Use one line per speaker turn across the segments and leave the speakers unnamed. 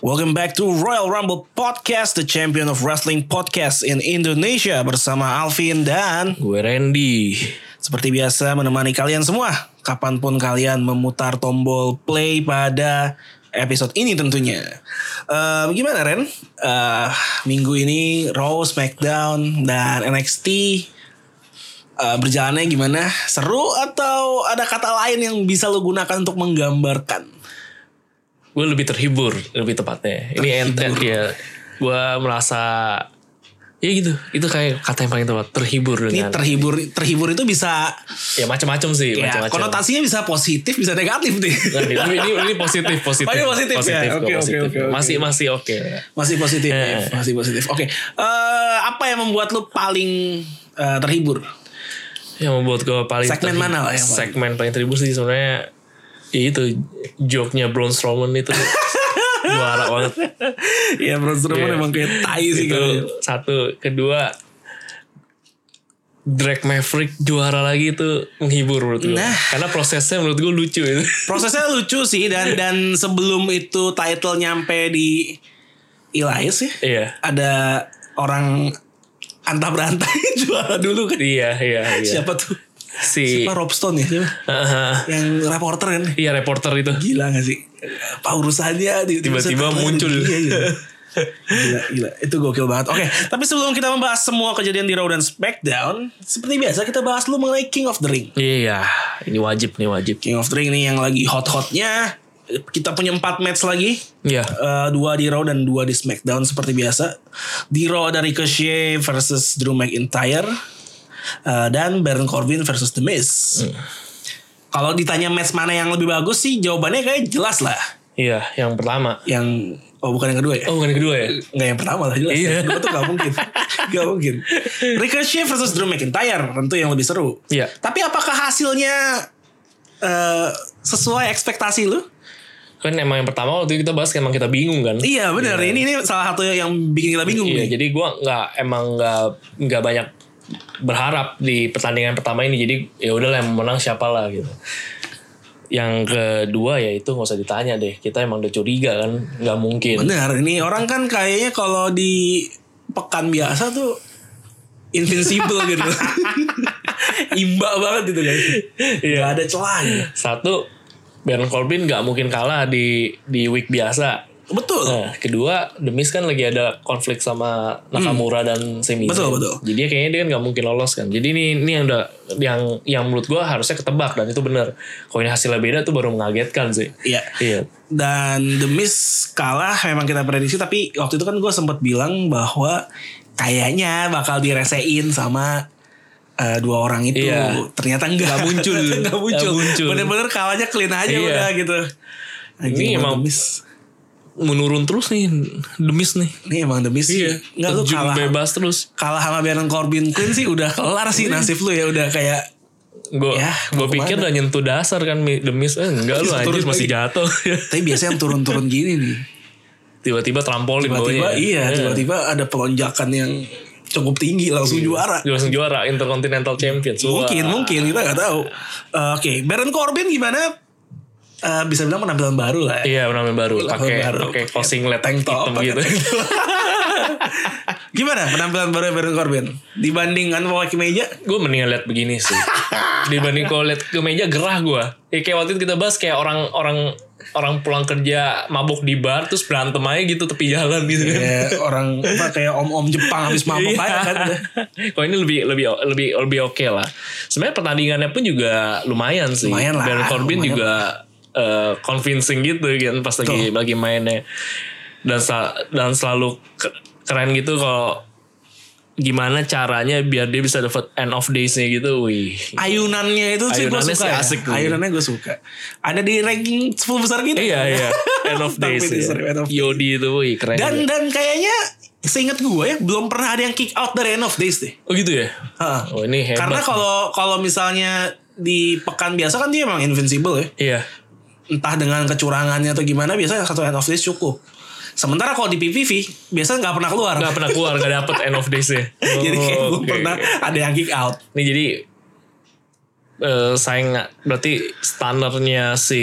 Welcome back to Royal Rumble Podcast, the champion of wrestling podcast in Indonesia bersama Alvin dan
Gue Randy.
Seperti biasa menemani kalian semua Kapanpun kalian memutar tombol play pada episode ini tentunya Eh, Gimana Ren? Eh, minggu ini Raw, Smackdown, dan NXT eh, Berjalannya gimana? Seru atau ada kata lain yang bisa lo gunakan untuk menggambarkan?
Gue lebih terhibur, lebih tepatnya. Ini enten ya. Gue merasa ya gitu. Itu kayak kata yang paling tepat.
Ini
Terhibur dengan
terhibur terhibur itu bisa
ya macam-macam sih,
ya,
macam-macam.
konotasinya bisa positif bisa negatif nih
Nah, ini, ini, ini positif, positif.
Oh, ini positif ya?
gua
Oke, oke,
positif.
oke, oke.
Masih masih oke.
masih positif
Eh.
masih positif oke Eh, apa yang membuat lu paling eh, terhibur
Yang membuat gue paling
Segmen
terhibur-
mana lah yang paling-
Segmen paling terhibur sih sebenarnya ya itu joke-nya Braun Strowman itu juara banget.
ya Braun Strowman
Iya.
emang kayak tai sih
itu
kali ya.
satu kedua Drag Maverick juara lagi itu menghibur menurut gue.
Nah.
Karena prosesnya menurut gue lucu itu.
prosesnya lucu sih dan dan sebelum itu title nyampe di Elias ya
Iya.
ada orang antah berantai juara dulu kan
Iya, iya, iya.
siapa tuh
Si
Pak Robston ya
Aha.
yang reporter kan
Iya, reporter itu.
gila gak sih apa urusannya di-
Tiba-tiba muncul.
Iya, iya. gila gila itu gokil banget oke tapi sebelum kita membahas semua kejadian di Raw dan Smackdown seperti biasa kita bahas lu mengenai King of the Ring
Iya, ini wajib nih wajib.
King of the Ring nih yang lagi hot-hotnya kita punya 4 match lagi
Iya.
Eh, dua di Raw dan dua di SmackDown seperti biasa. Di Raw ada Ricochet versus Drew McIntyre Eh, dan Baron Corbin versus The Miz. Kalau ditanya match mana yang lebih bagus sih jawabannya kayak jelas lah.
Iya, yang pertama.
Yang oh bukan yang kedua ya?
Oh, bukan yang kedua ya?
Nggak yang pertama lah jelas. ya.
Iya.
Yang kedua tuh gak mungkin. gak mungkin. Ricochet versus Drew McIntyre tentu yang lebih seru.
Iya.
Tapi apakah hasilnya eh, sesuai ekspektasi lu?
Kan emang yang pertama waktu itu kita bahas emang kita bingung kan.
Iya benar. Ini ini salah satu yang bikin kita bingung nih.
Iya, jadi gua nggak emang nggak nggak banyak berharap di pertandingan pertama ini. Jadi ya udahlah yang menang siapa lah gitu. Yang kedua ya itu nggak usah ditanya deh. Kita emang udah curiga kan, nggak mungkin.
Benar, ini orang kan kayaknya kalau di pekan biasa tuh invincible gitu. Imba banget gitu guys.
Iya.
Gak ada gitu. celahnya.
Satu, Baron Corbin nggak mungkin kalah di di week biasa.
Betul.
Nah, kedua, The Miz kan lagi ada konflik sama Nakamura dan Semi.
Hmm. Betul, betul.
Jadi dia kayaknya dia kan nggak mungkin lolos kan. Jadi ini ini yang udah yang yang menurut gua harusnya ketebak dan itu benar. Kalau ini hasilnya beda tuh baru mengagetkan sih.
Iya.
Iya.
Dan The Miz kalah memang kita prediksi tapi waktu itu kan gue sempat bilang bahwa kayaknya bakal diresein sama eh, dua orang itu.
Iya.
Ternyata enggak
Nggak muncul.
Enggak muncul.
Nggak muncul.
Bener-bener kalahnya clean aja
Iya.
udah gitu. Anjing,
Ini
The
emang-
Miz.
menurun terus nih demis nih
Ini emang The Miz sih. Iya. Nggak, lu
Iya. terjun
kalah.
bebas terus
Kalah sama Baron Corbin Quinn sih udah kelar sih
Iya.
nasib lu ya. Udah kayak
gue
Ya,
gue
mau
pikir
kemana?
udah nyentuh dasar kan Mi- demis eh, enggak lu
Turun
anjir masih
lagi.
jatuh
tapi biasanya yang turun-turun gini nih.
tiba-tiba trampolin
Tiba-tiba
bawahnya.
iya,
Eh,
tiba-tiba ada pelonjakan yang cukup tinggi
Iya.
langsung juara.
langsung juara Intercontinental Champion Wah.
Mungkin, mungkin kita nggak tahu. Eh, Oke, Baron Corbin gimana? Eh, bisa bilang penampilan baru lah. ya.
iya namanya baru
Penampilan
pakai
baru,
pakai closing let
tank top
hitam
pakai
gitu
tank top. gimana penampilan baru ya Baron Corbin dibandingkan pakai meja?
gue mendingan lihat begini sih dibanding kalau lihat ke meja gerah gue ya, kayak waktu itu kita bahas kayak orang orang orang pulang kerja mabuk di bar terus berantem aja gitu tepi jalan gitu kan
Kayak orang apa kayak om-om Jepang habis mabuk
Iya.
banyak kan.
Kalau ini lebih lebih lebih lebih oke lah. Sebenarnya pertandingannya pun juga lumayan sih.
Lumayan lah,
Baron Corbin
lumayan
juga eh, convincing gitu kan pas lagi lagi mainnya dan sel- dan selalu ke- keren gitu kalau gimana caranya biar dia bisa dapat end of days-nya gitu. Wih.
Ayunannya itu sih gue
Ayunannya
suka
sih
ya.
asik tuh.
Ayunannya gue suka. Ada di ranking 10 besar gitu.
Iya iya. End of
Dark
days.
Witches,
ya.
sorry, End of Days.
Yodi itu wih keren.
Dan
juga.
dan kayaknya seingat gue ya belum pernah ada yang kick out dari End of Days deh.
oh gitu ya.
Ha.
Oh ini hebat.
Karena kalau kalau misalnya di pekan biasa kan dia emang invincible ya.
iya.
Entah dengan kecurangannya atau gimana biasanya satu end of days cukup. Sementara kalau di PVV biasanya nggak pernah keluar.
Gak pernah keluar, gak dapet end of days-nya.
Jadi kayak
Oh,
belum
oke.
pernah ada yang kick out.
Ini jadi eh saing berarti standarnya si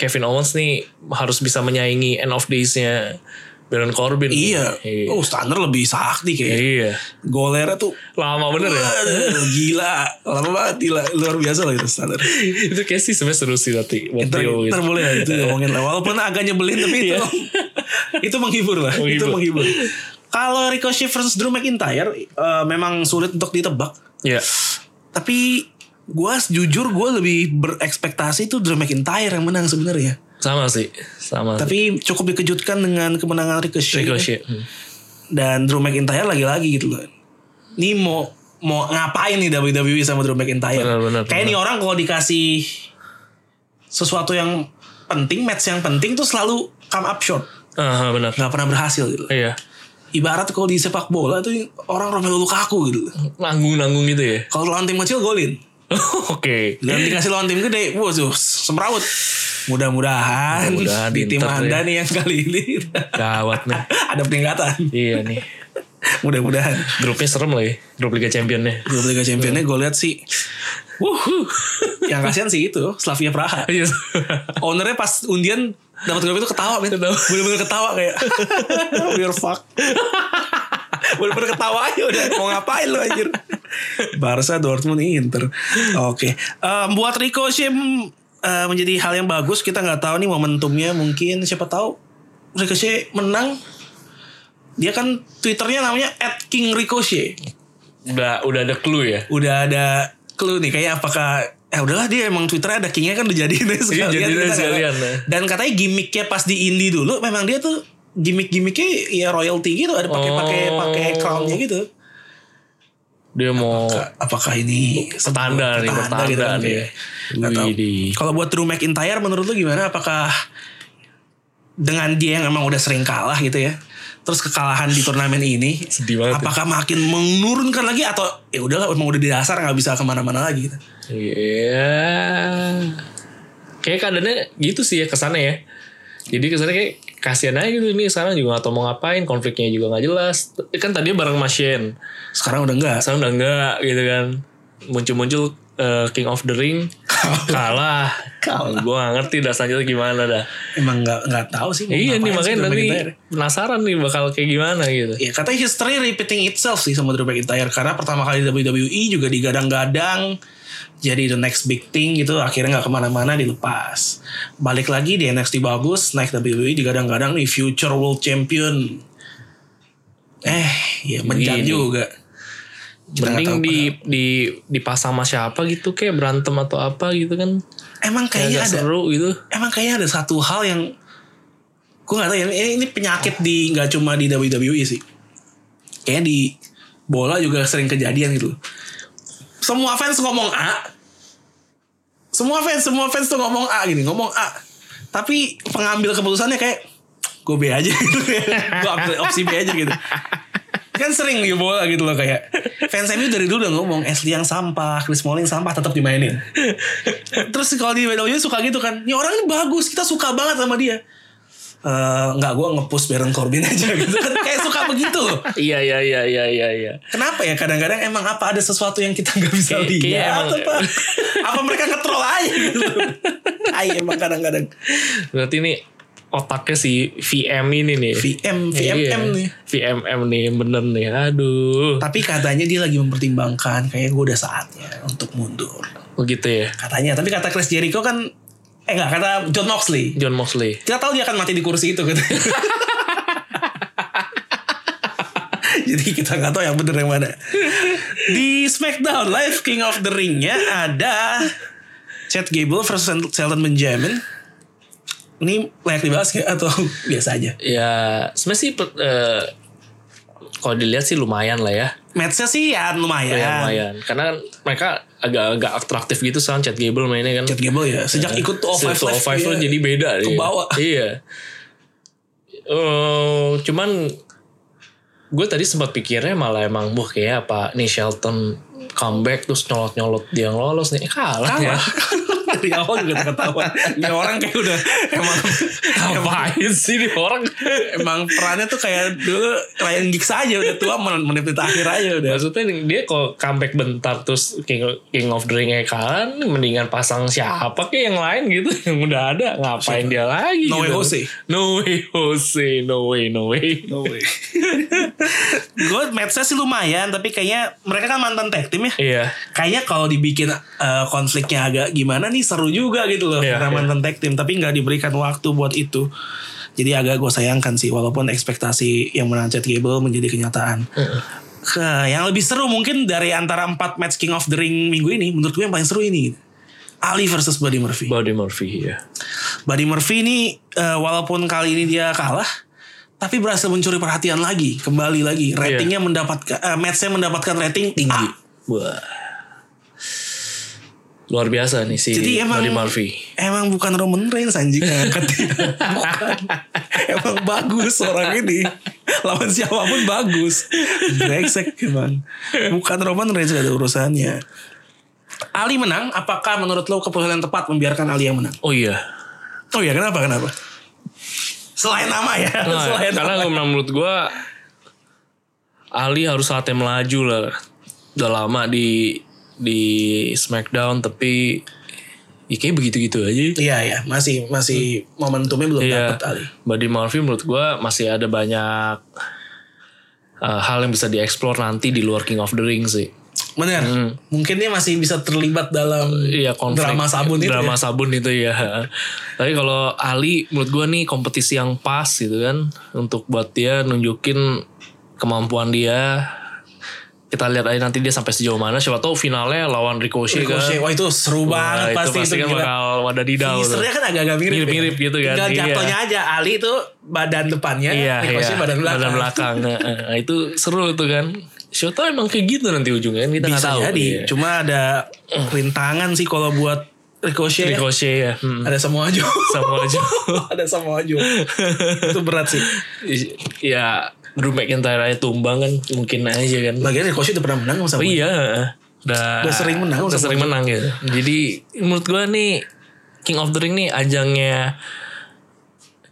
Kevin Owens nih harus bisa menyaingi end of days-nya Baron Corbin.
Iya.
Iya.
Oh standar lebih sakti kayak.
Iya.
Golera tuh
Lama bener ya.
Waduh, gila lama banget gila luar biasa loh itu standar
itu kayak sih sebenarnya seru sih nanti buat
ntar,
Rio
ntar
gitu.
boleh lah itu ngomongin lah walaupun agak nyebelin tapi itu itu menghibur lah itu Iya.
Menghibur.
menghibur kalau Ricochet versus Drew McIntyre eh, memang sulit untuk ditebak
Iya.
tapi gue jujur gue lebih berekspektasi tuh Drew McIntyre yang menang sebenarnya
Sama sih. Sama. sih.
tapi Iya. cukup dikejutkan dengan kemenangan Ricochet,
Ricochet. Hmm.
dan Drew McIntyre lagi-lagi gitu loh ini mau mau ngapain nih WWE sama Drew McIntyre
Benar, benar,
kayak
benar.
nih orang kalau dikasih sesuatu yang penting match yang penting tuh selalu come up short
Aha, benar.
nggak pernah berhasil gitu
Iya.
ibarat kalau di sepak bola tuh orang Romelu Lukaku gitu
Nanggung-nanggung gitu ya.
kalau lawan tim kecil golin
Oke.
dan dikasih lawan tim gede wah tuh semrawut mudah-mudahan
Mudah-mudahan
di tim
diinter tuh
anda
ya.
nih yang kali ini
Gawat nih.
ada peningkatan
Iya nih.
mudah-mudahan
Grupnya serem lagi. Grup Liga Championnya.
Grup Liga Championnya gue lihat sih
Wuhu.
Yang kasihan sih itu Slavia Praha
Iya.
Ownernya pas undian dapat grup itu ketawa men
Ketawa.
Bener-bener ketawa kayak We're fuck Bener-bener ketawa aja udah Mau ngapain lo anjir Barca Dortmund Inter Oke Em, Buat Ricochet mm, eh, Menjadi hal yang bagus Kita nggak tahu nih momentumnya Mungkin siapa tahu Ricochet menang Dia kan Twitternya namanya At King Ricochet
udah udah ada clue ya.
udah ada clue nih kayak apakah eh udahlah dia emang Twitter ada kingnya kan dijadiin aja sekalian.
Iya, jadiin aja
Kita nggak
sekalian,
tahu.
ya.
Dan katanya gimmicknya pas di indie dulu memang dia tuh gimmick-gimmicknya ya royalty gitu ada pakai pakai
Oh.
pakai crownnya gitu.
Dia mau
Apakah ini
standar nih,
standar gitu
standar
kan,
dia.
ya? Nggak tahu.
Widih.
Kalau buat Drew McIntyre menurut lu gimana? Apakah dengan dia yang emang udah sering kalah gitu ya? Terus kekalahan di turnamen ini,
Sedih banget ya.
apakah makin menurunkan lagi atau ya udahlah emang udah di dasar nggak bisa kemana-mana lagi gitu?
Iya. Kayak keadaannya gitu sih ya kesannya ya. Jadi kesannya kayak kasihan aja gitu nih sekarang juga gak tau mau ngapain konfliknya juga nggak jelas kan tadi bareng Mas Shane
Sekarang udah enggak.
sekarang udah enggak gitu kan muncul-muncul eh, King of the Ring kalah
Kalah.
gue gak ngerti dah selanjutnya gimana dah
Emang nggak nggak tahu sih. mau
iya
ngapain sih
nih makanya
Drew
nanti
McIntyre.
penasaran nih bakal kayak gimana gitu
Ya katanya history repeating itself sih sama Drew McIntyre karena pertama kali di WWE juga digadang-gadang jadi the next big thing gitu akhirnya nggak kemana-mana dilepas balik lagi di NXT bagus naik WWE digadang-gadang nih future world champion eh ya menjan
Ini.
juga Kita nggak tahu
mending di, di dipasang sama siapa gitu kayak berantem atau apa gitu kan
emang kayaknya
Kayak
ada
seru gitu
emang kayaknya ada satu hal yang gue gak tahu ya ini, ini penyakit di nggak cuma di WWE sih kayaknya di bola juga sering kejadian gitu loh. semua fans ngomong A semua fans semua fans tuh ngomong A gini ngomong A tapi pengambil keputusannya kayak gue B aja gitu gue ambil opsi B aja gitu kan sering di bola gitu loh kayak fans MU dari dulu udah ngomong Ashley yang sampah Chris Smalling sampah tetap dimainin terus kalau di WWE suka gitu kan ini orang ini bagus kita suka banget sama dia Eh nggak gue ngepush Baron Corbin aja gitu kan kayak suka begitu loh
iya iya iya iya iya iya
Kenapa ya kadang-kadang emang apa ada sesuatu yang kita nggak bisa
Kayak- kayaknya
lihat
emang-
apa? apa mereka ngetrol aja gitu? Ay, emang kadang-kadang
berarti ini otaknya si VM ini nih
VM VMM
Iya.
nih.
VMM nih bener nih aduh
Tapi katanya dia lagi mempertimbangkan kayaknya gue udah saatnya untuk mundur.
begitu ya
Katanya, tapi kata Chris Jericho kan eh nggak kata John Moxley.
John Moxley
Kita tahu dia akan mati di kursi itu gitu. Jadi kita nggak tahu yang bener yang mana. Di SmackDown Live King of the Ring-nya ada Chad Gable versus Shelton Benjamin. Ini layak dibahas nggak atau biasa aja?
ya sebenarnya sih per- eh, kalau dilihat sih lumayan lah ya.
Matchnya sih ya lumayan.
Ya, lumayan. Karena kan mereka agak-agak atraktif gitu sekarang Chad Gable mainnya kan.
Chad Gable ya. Sejak
Ya.
ikut tuh All Five
Tuh, All Five tuh
Live. ya.
jadi beda
ke
dia.
bawah.
Iya. Eh, cuman gue tadi sempat pikirnya malah emang buh kayak apa nih Shelton comeback terus nyolot-nyolot dia yang lolos nih Eh, kalah, ya.
Kalah. Dari awal juga ketahuan. Ini orang kayak udah emang
Ngapain sih nih orang?
emang perannya tuh kayak dulu Ryan Giggs aja udah tua men- menit-menit akhir aja Ya udah.
Maksudnya dia kalau comeback bentar terus King, King of the Ring-nya kalah mendingan pasang siapa kayak yang lain gitu yang udah ada ngapain dia lagi
No way
gitu.
Jose.
No way Jose, no way, no way.
Gue matchnya sih lumayan tapi kayaknya mereka kan mantan tag team ya.
Iya.
Kayaknya kalau dibikin eh, konfliknya agak gimana nih seru juga gitu loh
Iya,
karena
iya.
mantan tag team tapi nggak diberikan waktu buat itu. Jadi agak gue sayangkan sih walaupun ekspektasi yang menang Chad Gable menjadi kenyataan. Ke- yang lebih seru mungkin dari antara empat match King of the Ring minggu ini menurut gue yang paling seru ini Ali versus Buddy Murphy.
Body Murphy ya.
Buddy Murphy ini eh, walaupun kali ini dia kalah tapi berhasil mencuri perhatian lagi kembali lagi ratingnya mendapatkan eh, matchnya mendapatkan rating tinggi
Ah. Wah. Luar biasa nih si
Jadi emang-
Buddy Murphy.
emang bukan Roman Reigns anjing ngangkat dia. Bukan. emang bagus orang ini lawan siapapun bagus brengsek emang bukan Roman Reigns gak ada urusannya Ali menang apakah menurut lo keputusan yang tepat membiarkan Ali yang menang
Oh iya.
oh ya kenapa kenapa selain nama ya
Nah,
selain
karena
nama.
memang menurut gua Ali harus saatnya melaju lah. Udah lama di di SmackDown tapi ya kayak begitu-gitu aja.
Iya ya, masih masih momentumnya belum
Iya.
dapat Ali.
Buddy Murphy menurut gua masih ada banyak eh, hal yang bisa dieksplor nanti di luar King of the Ring sih.
Benar. Mungkin dia masih bisa terlibat dalam
Hmm. Iya konflik
drama sabun itu.
drama
ya.
sabun itu ya tapi kalau Ali menurut gua nih kompetisi yang pas gitu kan untuk buat dia nunjukin kemampuan dia kita lihat aja nanti dia sampai sejauh mana siapa tahu finalnya lawan Ricochet,
Ricochet,
kan
wah itu seru
Wah,
banget
itu
pasti, itu
kan
gila.
bakal wadadidau tuh.
Finishernya kan agak-agak mirip.
Mirip-mirip
ya.
gitu kan,
Tinggal
iya.
jatuhnya aja Ali itu badan depannya,
iya
Ricochet
iya
badan belakang.
Heeh, nah, itu seru tuh kan siapa tahu emang kayak gitu nanti ujungnya kan kita nggak
Bisa
tahu
jadi,
Iya.
cuma ada rintangan sih kalau buat Ricochet. ya.
Ricochet ya hmm.
Ada semua aja.
sama aja
ada semua aja. itu berat sih.
ya Drew McIntyre aja tumbang kan mungkin aja kan
Lagian Ricochet udah pernah menang
Oh
sama
iya, udah,
Udah sering menang
udah
sama
sering menang gitu. Jadi menurut gua nih King of the Ring nih ajangnya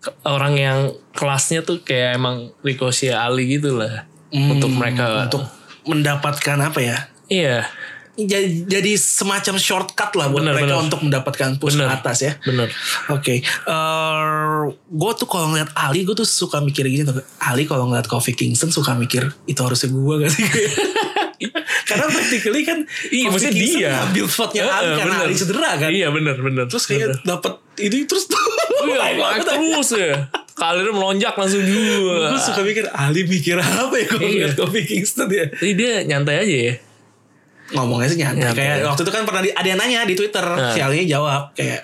ke- orang yang kelasnya tuh kayak emang Ricochet Ali gitu lah untuk mereka.
Hmm, untuk mendapatkan apa ya?
iya,
jadi, jadi semacam shortcut lah buat
Bener,
mereka
bener.
untuk mendapatkan push
Bener.
ke atas ya.
bener.
Oke, gue tuh kalau ngeliat Ali, gue tuh suka mikir gini tuh. Ali kalau ngeliat Kofi Kingston suka mikir itu harusnya gue gak sih? karena practically kan,
Iya,
Kofi
maksudnya
Kingston
dia.
ngambil spotnya Ali
Heeh,
karena
bener.
Ali cedera kan.
Iya bener bener.
Terus kayak dapat ini terus tuh.
oh, iya, naik terus ya. Kalirnya melonjak langsung
gue
juga.
suka mikir Ali mikir apa ya kalau
Iya.
ngeliat Kofi Kingston ya.
Jadi dia nyantai aja ya.
ngomongnya sih nyantai.
Nyantai.
Kayak waktu itu kan pernah di- ada yang nanya di Twitter,
Nah.
si Ali jawab kayak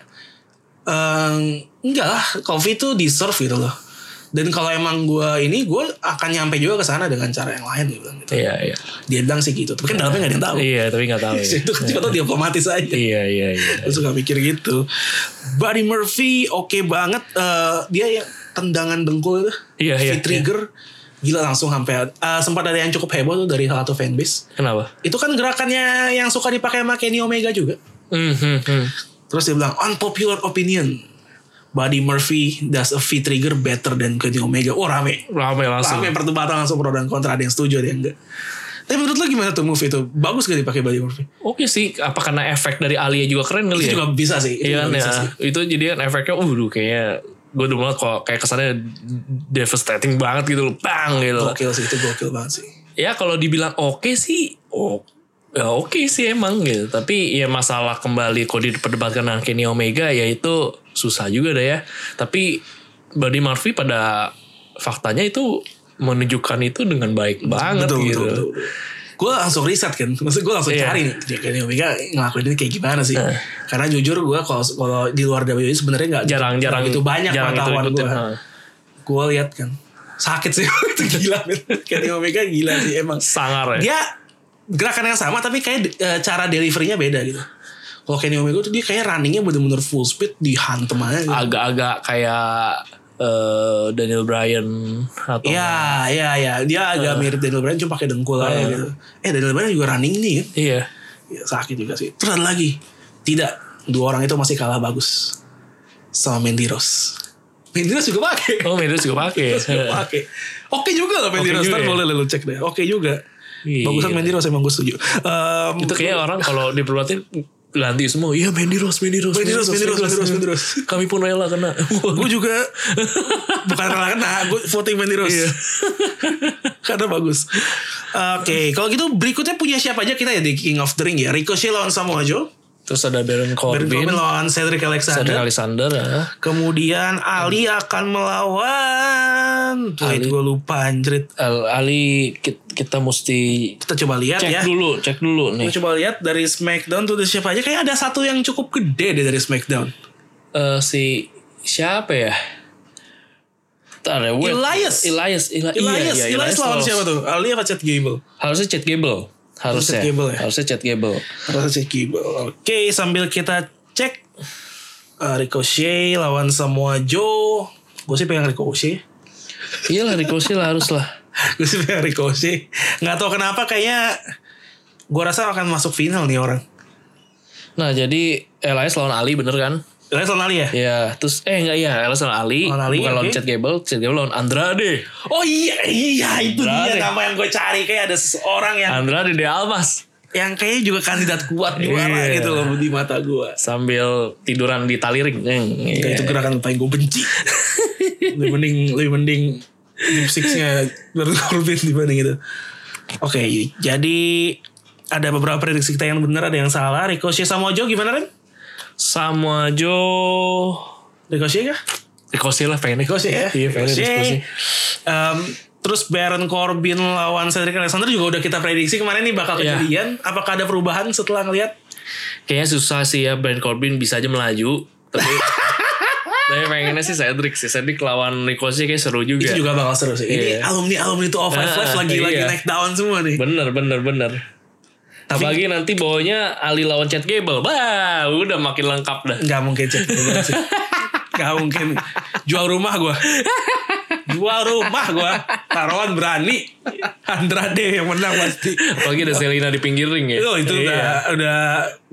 ehm, enggak lah, Kofi itu deserve gitu loh. Dan kalau emang gue ini gue akan nyampe juga ke sana dengan cara yang lain dia bilang gitu.
Iya iya.
Dia bilang sih gitu, tapi kan dalamnya gak ada yang tahu.
Iya tapi nggak tahu ya.
itu kan cuma tuh diplomatis aja.
Iya iya iya.
Gue suka mikir gitu. Buddy Murphy oke banget. Eh, dia yang tendangan dengkul itu.
Iya, iya,
V trigger. Gila langsung sampai eh, sempat ada yang cukup heboh tuh dari salah satu fanbase.
Kenapa?
Itu kan gerakannya yang suka dipakai sama Kenny Omega juga.
Hmm, hmm, hmm.
Terus dia bilang, unpopular opinion. Buddy Murphy does a V trigger better than Kenny Omega. Oh rame.
Rame langsung.
Rame perdebatan langsung pro dan kontra. Ada yang setuju, ada yang enggak. Tapi menurut lo gimana tuh move itu? Bagus gak dipakai Buddy Murphy?
Oke sih, apa karena efek dari Alia juga keren kali
Itu
ya?
juga bisa sih. Itu
Iya kan
juga
ya,
bisa sih.
itu jadi kan efeknya, waduh kayaknya gue dulu banget kok kayak kesannya devastating banget gitu loh, bang gitu loh.
Gokil sih, itu gokil banget sih.
Ya kalau dibilang oke sih, oh, ya oke sih emang gitu. Tapi ya masalah kembali kalau diperdebatkan dengan Kenny Omega ya itu susah juga deh ya. Tapi Buddy Murphy pada faktanya itu menunjukkan itu dengan baik banget
betul,
gitu.
betul, betul, Gue langsung riset kan, maksud gue langsung
Iya.
cari nih, dia Kenny Omega ngelakuin ini kayak gimana sih? Karena jujur gue kalau kalau di luar WWE sebenarnya nggak
Jarang-jarang
itu banyak
jarang itu ya.
pengetahuan
ikutin.
gue.
ha.
Gue lihat kan, sakit sih itu gila men. Kenny Omega gila sih emang
sangar ya.
dia gerakan yang sama tapi kayak eh, cara deliverynya beda gitu kalau Kenny Omega tuh dia kayak runningnya bener-bener full speed dihantem aja gitu.
agak-agak kayak eh, Daniel Bryan atau
Iya, iya, iya. Dia agak
Eh.
mirip Daniel Bryan cuma pakai dengkul aja gitu. Eh Daniel Bryan juga running nih kan.
iya
Ya, sakit juga sih. Terus ada lagi. Tidak. Dua orang itu masih kalah bagus. Sama Mandy Rose. Mandy Rose juga pakai.
oh Medos juga pakai
pakai. Oke juga loh Mandy
Oke
Rose.
juga
Ntar
ya.
boleh lo cek deh. Oke juga.
Iya.
Bagusan Mandy kan Rose emang gue setuju. Em,
itu kayak orang kalau diperhatiin ganti semua iya Mandy Rose Mandy Rose
Mandy Rose, Mandy Rose, Mandy Rose,
kami pun rela kena
gue juga bukan karena kena gue voting Mandy Rose
Iya.
karena bagus oke kalau gitu berikutnya punya siapa aja kita ya di King of the Ring ya Ricochet lawan Samoa Joe
terus ada
Baron
Baron Corbin
Corbin lawan Cedric
Cedric
Alexander
Alexander ya.
kemudian Ali akan melawan wait gue lupa anjrit
Al- Ali kit- kita mesti
kita coba lihat
cek
ya
dulu cek dulu nih
Kita coba lihat dari Smackdown tuh ada siapa aja kayak ada satu yang cukup gede deh dari Smackdown
Eh, si siapa ya Ntar ada Wade.
Elias.
Elias Eli- iya,
Elias
iya,
Elias lawan
lawan-
siapa tuh Ali apa Chad Gable
harusnya Chad Gable harusnya
Chad Gable ya?
harusnya Chad Gable
Rasa Gable. Oke, sambil kita cek uh, Ricochet lawan Samoa Joe. Gue sih pengen Ricochet.
iyalah Ricochet Iya lah harus lah
Gue sih pengen Ricochet. Nggak tahu kenapa kayaknya gue rasa akan masuk final nih orang.
nah jadi Elias lawan Ali bener kan
Lihat lawan Ali ya?
ya terus eh enggak ya Elias lawan Ali,
Lawan Ali,
bukan lawan
oke.
Chad Gable Chad Gable lawan Andrade
Oh iya, iya itu dia
Berani.
nama yang gue cari. Kayak ada seseorang yang
Andrade de Almas
yang kayaknya juga kandidat kuat juara
Iya.
gitu loh di mata gue.
sambil tiduran di tali ring Neng,
Ya,
iya.
itu gerakan paling gue benci. lebih mending lebih mending Deep Six-nya Baron Corbin dibanding itu. Oke, jadi ada beberapa prediksi kita yang benar, ada yang salah. Ricochet sama Ojo gimana Ren?
sama Joe
Ricochet kah?
Ricochet lah pengen
Ricochet ya?
iya pengen Ricochet
Ricochet. Em, terus Baron Corbin lawan Cedric Alexander juga udah kita prediksi kemarin nih bakal
Iya.
kejadian. Apakah ada perubahan setelah ngelihat?
kayaknya susah sih ya Baron Corbin bisa aja melaju tapi tapi pengennya sih Cedric sih Cedric lawan Ricochet kayak seru juga,
Itu juga bakal seru sih. Ini
Iya.
alumni alumni itu All Five
Ah,
Live lagi lagi
iya.
naik daun semua nih.
bener bener bener
Tapi-
apalagi nanti bawanya Ali lawan Chad Gable bah udah makin lengkap dah
Gak mungkin cek Gak mungkin Jual rumah gua Jual rumah gua Taruhan berani Andrade yang menang pasti
apalagi ada Selina di pinggir ring ya
Itu, itu udah
Iya.
Udah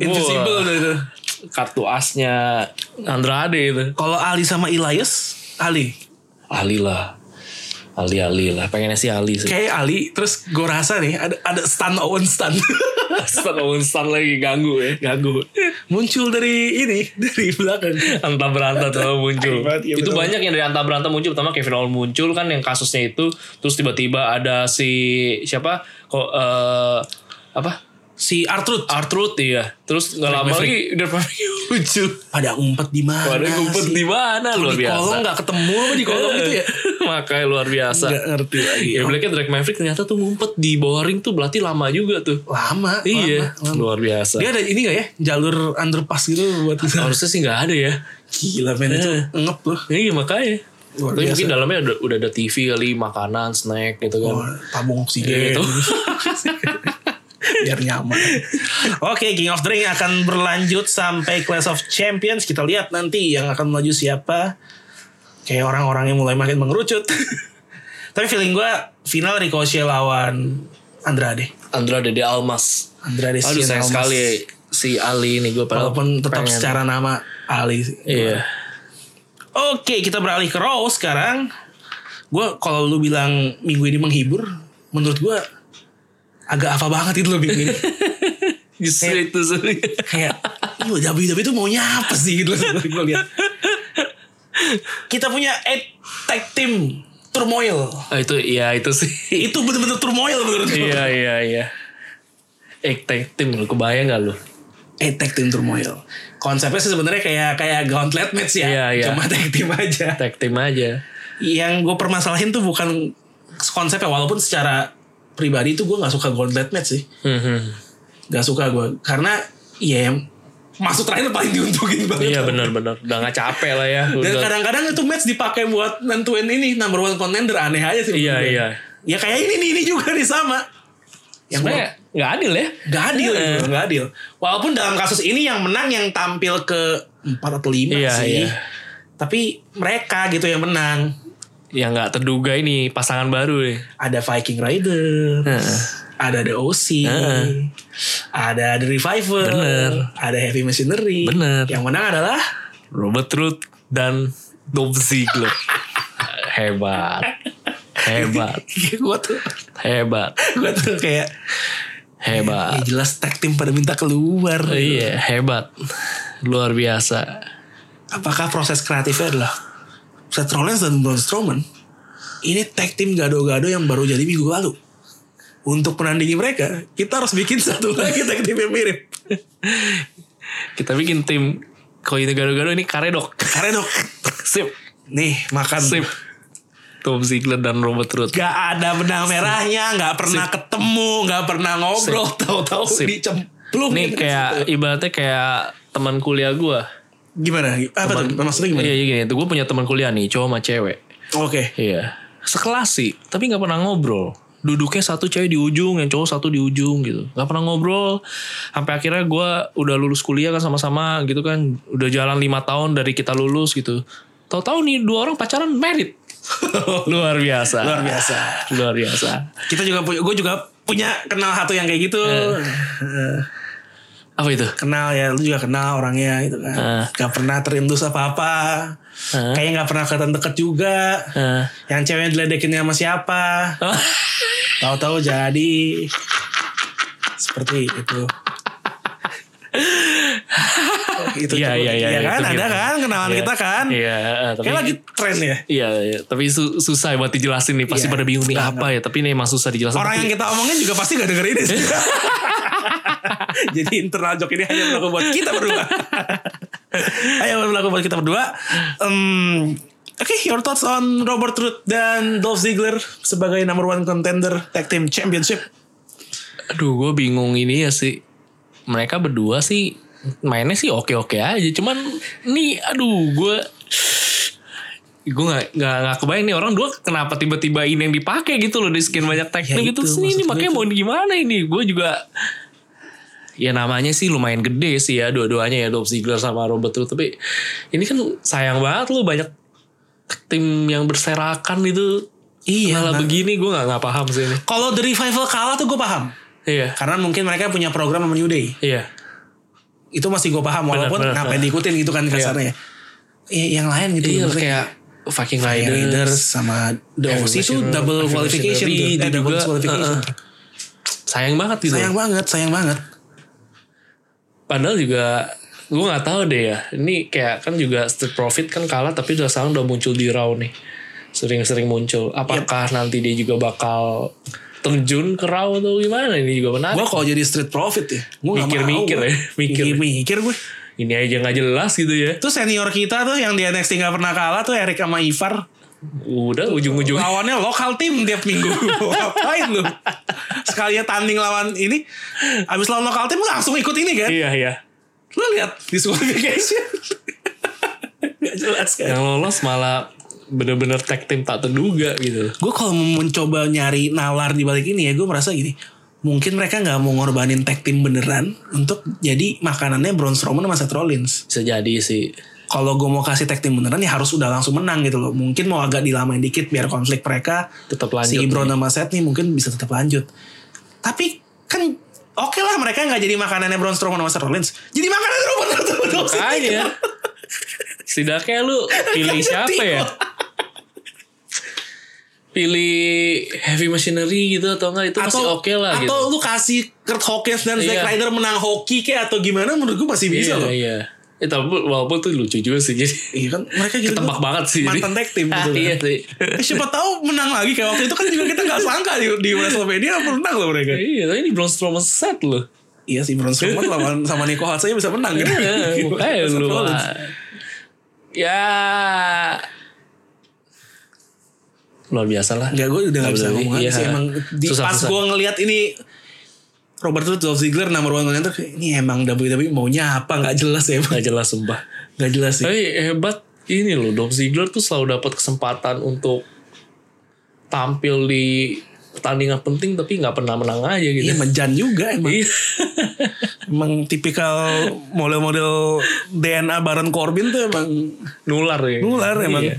Invisible
Wah.
udah itu
kartu asnya Andrade itu
Kalau Ali sama Elias Ali
Ali lah Ali Ali lah pengennya sih Ali sih
Kayak Ali Terus gue rasa nih Ada, ada Stan Owen Stan
Stan Owen Stan lagi ganggu ya
Gagu Muncul dari ini Dari belakang
Anta Beranta tuh
Aing
muncul.
banget, iya, betul.
itu banyak yang dari Anta Beranta muncul. Pertama Kevin Owens muncul kan yang kasusnya itu. Terus tiba-tiba ada si siapa? Kok eh apa?
Si Artrud
Artrud iya. Terus nggak lama lagi udah muncul.
Pada ngumpet di mana
Ada ngumpet
sih?
di mana luar
Di
biasa.
kolong gak ketemu apa Di kolong gitu ya iya.
Makanya luar biasa.
Gak ngerti lagi
Ya Blacknya Drake Maverick ternyata tuh ngumpet di bawah ring tuh berarti lama juga tuh.
Lama
Iya,
lama, lama.
luar biasa.
Dia ada ini gak ya? Jalur underpass gitu buat kita.
Harusnya sih nggak ada ya.
Gila men itu ngep loh.
Iya makanya.
Luar
Tapi
biasa.
mungkin dalamnya udah, udah ada TV kali, makanan, snack gitu kan.
Wah, iya. Tabung oksigen
Gitu.
biar nyaman. Oke, King of the Ring akan berlanjut sampai Clash of Champions. Kita lihat nanti yang akan melaju siapa. Kayak orang-orang yang mulai makin mengerucut. Tapi feeling gue final Ricochet lawan Andrade.
Andrade de Almas.
Andrade
Aduh
Cien
sayang
Almas.
sekali si Ali ini gue padahal
Walaupun tetap
pengen.
secara nama Ali sih.
Iya.
Oke, kita beralih ke Raw sekarang. Gue kalau lu bilang minggu ini menghibur, menurut gue agak apa banget itu loh minggu ini.
Justru
Iya.
itu sih.
Kayak, lu WWE itu maunya apa sih gitu loh sebenarnya gua lihat. Kita punya eight tag team turmoil.
Ah, itu iya itu sih.
Itu bener-bener turmoil menurut gue.
iya iya iya. Eh tag team lu kebayang gak lu?
Eight tag team turmoil. Konsepnya sih sebenarnya kayak kayak gauntlet match ya.
Iya, iya.
Cuma tag team aja.
Tag team aja.
yang gue permasalahin tuh bukan konsepnya walaupun secara
Mm-hmm.
pribadi tuh gue nggak suka gauntlet match sih
Hmm, hmm.
nggak suka gue karena ya masuk terakhir paling diuntungin banget.
Iya benar-benar udah nggak capek lah ya.
Dan
Udah,
kadang-kadang itu match dipakai buat nentuin ini number one contender aneh aja sih. menurut
iya
gue.
iya.
Ya kayak ini nih, ini juga nih sama. Yang
Sebenarnya nggak adil ya.
Gak adil,
Iya.
bro, gak adil. Walaupun dalam kasus ini yang menang yang tampil ke 4 atau 5
Iya,
sih.
iya.
Tapi mereka gitu yang menang.
Yang Ya, nggak terduga ini pasangan baru nih.
Ada Viking Rider.
Heeh.
Ada The OC.
Heeh.
Ada The Reviver.
Bener.
Ada Heavy Machinery.
Bener.
Yang menang adalah
Robert Root dan Dom Ziggler. hebat. Hebat.
gue tuh
Hebat.
gue tuh kayak ya
Hebat.
jelas tag team pada minta keluar.
Iya, hebat. Luar biasa.
Apakah proses kreatifnya adalah Seth Rollins dan Braun Strowman ini tag team gado-gado yang baru jadi minggu lalu. Untuk menandingi mereka, kita harus bikin satu lagi tag team yang mirip.
Kita bikin tim Koi Negara-Garo ini karedok.
Karena dok,
Sip.
nih makan.
Sip. Tom Ziggler dan Robert Root.
Gak ada benang merahnya, gak pernah ketemu, gak pernah ngobrol, tahu-tahu
Sip.
dicemplung.
Nih
gitu.
kayak ibaratnya kayak teman kuliah gua.
gimana? Apa tuh? Maksudnya gimana?
Iya, iya gini. Tuh gue punya teman kuliah nih, cowok sama cewek.
Oke.
Iya. Sekelas sih, tapi nggak pernah ngobrol. Duduknya satu cewek di ujung, yang cowok satu di ujung gitu. Nggak pernah ngobrol. Sampai akhirnya gua udah lulus kuliah kan sama-sama gitu kan. Udah jalan lima tahun dari kita lulus gitu. Tahu-tahu nih dua orang pacaran merit. Luar biasa.
Luar biasa.
Luar biasa.
Kita juga punya, gue juga punya kenal satu yang kayak gitu. Eh.
Apa itu?
kenal ya lu juga kenal orangnya gitu kan
Ah.
gak pernah terindus apa apa
Ah.
kayaknya gak pernah kelihatan deket juga
Eh.
yang ceweknya diledekinnya sama siapa tahu-tahu jadi seperti itu itu
Iya,
cukup.
iya, iya,
Iya
itu
kan ada
gimana?
kan kenalan
Iya.
kita kan
Iya, eh, tapi
kayak lagi tren ya
Iya, iya. tapi su- susah buat dijelasin nih. Pasti
Iya,
pada bingung nih
susah
apa ya. Tapi ini emang susah dijelasin.
orang
Tapi-
yang kita omongin juga pasti gak denger ini sih jadi internal joke ini hanya berlaku buat kita berdua ayo berlaku buat kita berdua Em, Oke, your thoughts on Robert Root dan Dolph Ziggler sebagai number one contender tag team championship?
Aduh gue bingung ini ya sih Mereka berdua sih Mainnya sih oke-oke aja Cuman Nih aduh gue Gue gak, gak, gak kebayang nih orang dua kenapa tiba-tiba ini yang dipakai gitu loh di skin banyak teknik
Ya
gitu.
itu,
Sini
maksud
ini
gue
makanya
itu.
mau gimana ini? Gue juga ya namanya sih lumayan gede sih ya dua-duanya ya Dolph Ziggler sama Robert Roode tapi ini kan sayang banget lu banyak tim yang berserakan itu
Iya,
malah
Bang.
begini gue nggak nggak paham sih ini.
Kalau The Revival kalah tuh gue paham.
Iya.
Karena mungkin mereka punya program sama New Day.
Iya.
Itu masih gue paham walaupun
benar,
ngapain diikutin gitu kan kasarnya. Iya, yang lain gitu.
Iya
maksudnya.
kayak Viking
Kayak
Riders,
Raiders sama The
Heavy
OC itu
Machinery,
double
Heavy
qualification
Machinery,
tuh, eh,
dan
double
juga,
qualification.
uh-uh. Sayang banget gitu.
Sayang banget, sayang banget.
Padahal juga gue nggak tahu deh ya. Ini kayak kan juga Street Profit kan kalah tapi udah sekarang udah muncul di Raw nih. Sering-sering muncul. Apakah nanti dia juga bakal terjun ke Raw atau gimana? Ini juga menarik.
Gue kalau jadi street profit ya, gue nggak mau.
Mikir-mikir ya, mikir.
mikir gue.
Ini aja nggak jelas gitu ya.
Tuh senior kita tuh yang di NXT nggak pernah kalah tuh Erik sama Ivar.
Udah ujung-ujung.
Lawannya lokal tim tiap minggu. Ngapain lu? Sekalinya tanding lawan ini, abis lawan lokal tim lu langsung ikut ini kan?
iya iya.
Lu lihat disqualification. gak jelas kan?
Yang lolos malah bener-bener tag team tak terduga gitu.
gue kalau mau mencoba nyari nalar di balik ini ya gue merasa gini mungkin mereka nggak mau ngorbanin tag team beneran untuk jadi makanannya Braun Strowman sama Seth Rollins
Bisa jadi sih.
kalau gue mau kasih tag team beneran ya harus udah langsung menang gitu loh mungkin mau agak dilamain dikit biar konflik mereka
Tetap lanjut
si Braun
nih.
sama Seth nih mungkin bisa tetap lanjut tapi kan oke lah mereka nggak jadi makanannya Braun Strowman sama Seth Rollins jadi makanannya Roman Reigns.
Makanya. Setidaknya lu pilih siapa ya? Pilih heavy machinery gitu atau enggak itu masih oke lah
atau
gitu.
lu kasih Kurt Hawkins dan Zack
Iya.
Ryder menang hoki kayak atau gimana menurut gue masih bisa
iya,
loh
Iya. Eh, tapi walaupun tuh lucu juga sih jadi
Iya kan mereka gitu
ketebak
tuh
banget sih. jadi.
mantan tag team gitu kan.
iya sih.
Eh, siapa tahu menang lagi kayak waktu itu kan juga kita nggak sangka di, di Slovenia menang loh mereka.
Iya, tapi ini Braun Strowman set loh.
Iya si Braun Strowman lawan sama Nico Hart saya bisa menang kan.
Iya, Makanya
Seth
lu.
Rollins.
ah. Ya luar biasa lah.
Nggak gue udah gak bisa
Nggak
ngomong
iya.
lagi sih emang di,
Susah,
pas
susah.
gue ngelihat ini Robert Roode, Dolph Ziggler, nomor one contender. kayak, Ini emang WWE maunya apa? Gak jelas ya. Bang.
Gak jelas sumpah.
Gak jelas sih.
Tapi hebat ini loh, Dolph Ziggler tuh selalu dapat kesempatan untuk tampil di pertandingan penting tapi nggak pernah menang aja gitu.
Iya menjan juga emang.
Iya.
Emang tipikal model-model DNA Baron Corbin tuh emang
Nular ya.
nular emang.
Iya.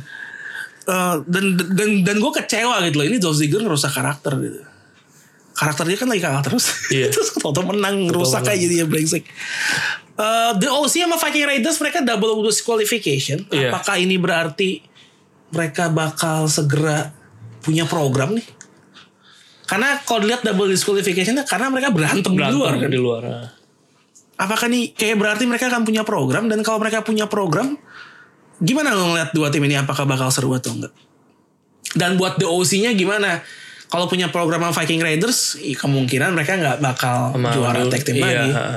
Eh, dan dan dan gue kecewa gitu loh. Ini Dolph Ziggler ngerusak karakter gitu. Karakter dia kan lagi kalah terus.
Iya.
terus toto menang rusak aja dia brengsek. Eh, The OC sama Viking Raiders mereka double disqualification.
Iya.
Apakah ini berarti mereka bakal segera punya program nih? Karena kalau dilihat double disqualification karena mereka berantem, di luar.
Berantem
kan?
di luar. ah.
Apakah nih kayak berarti mereka akan punya program dan kalau mereka punya program gimana lo ngeliat dua tim ini apakah bakal seru atau enggak? Dan buat the OC-nya gimana? Kalau punya program sama Viking Raiders, i- kemungkinan mereka nggak bakal
Sama
juara
dulu-
tag team
iya,
lagi.
ha.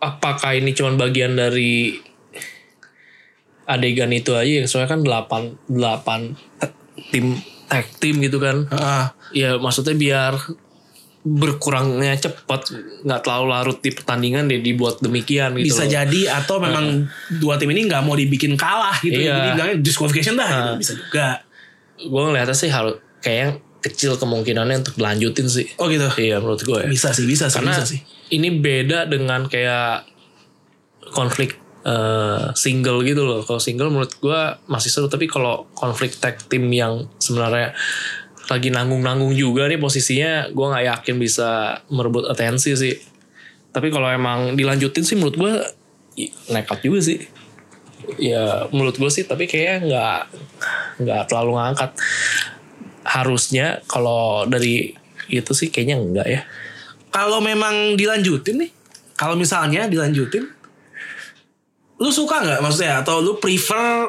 Apakah ini cuman bagian dari adegan itu aja ya? Soalnya kan 8 8 tim tag team gitu kan.
Heeh.
Ya maksudnya biar berkurangnya cepat nggak terlalu larut di pertandingan dia dibuat demikian gitu
bisa
loh.
jadi atau memang dua tim ini nggak mau dibikin kalah gitu.
Iya.
Jadi bilangnya disqualification dah, gitu. bisa juga.
gue ngeliatnya sih harus kayak kecil kemungkinannya untuk lanjutin sih
Oh gitu.
iya menurut gue ya.
Bisa sih, bisa sih,
karena
bisa sih.
ini beda dengan kayak konflik eh, single gitu loh kalau single menurut gua masih seru tapi kalau konflik tag team yang sebenarnya lagi nanggung-nanggung juga nih posisinya gua nggak yakin bisa merebut atensi sih tapi kalau emang dilanjutin sih menurut gua i- nekat juga sih ya menurut gue sih tapi kayaknya nggak nggak terlalu ngangkat harusnya kalau dari itu sih kayaknya enggak ya
kalau memang dilanjutin nih, kalau misalnya dilanjutin, lu suka nggak maksudnya atau lu prefer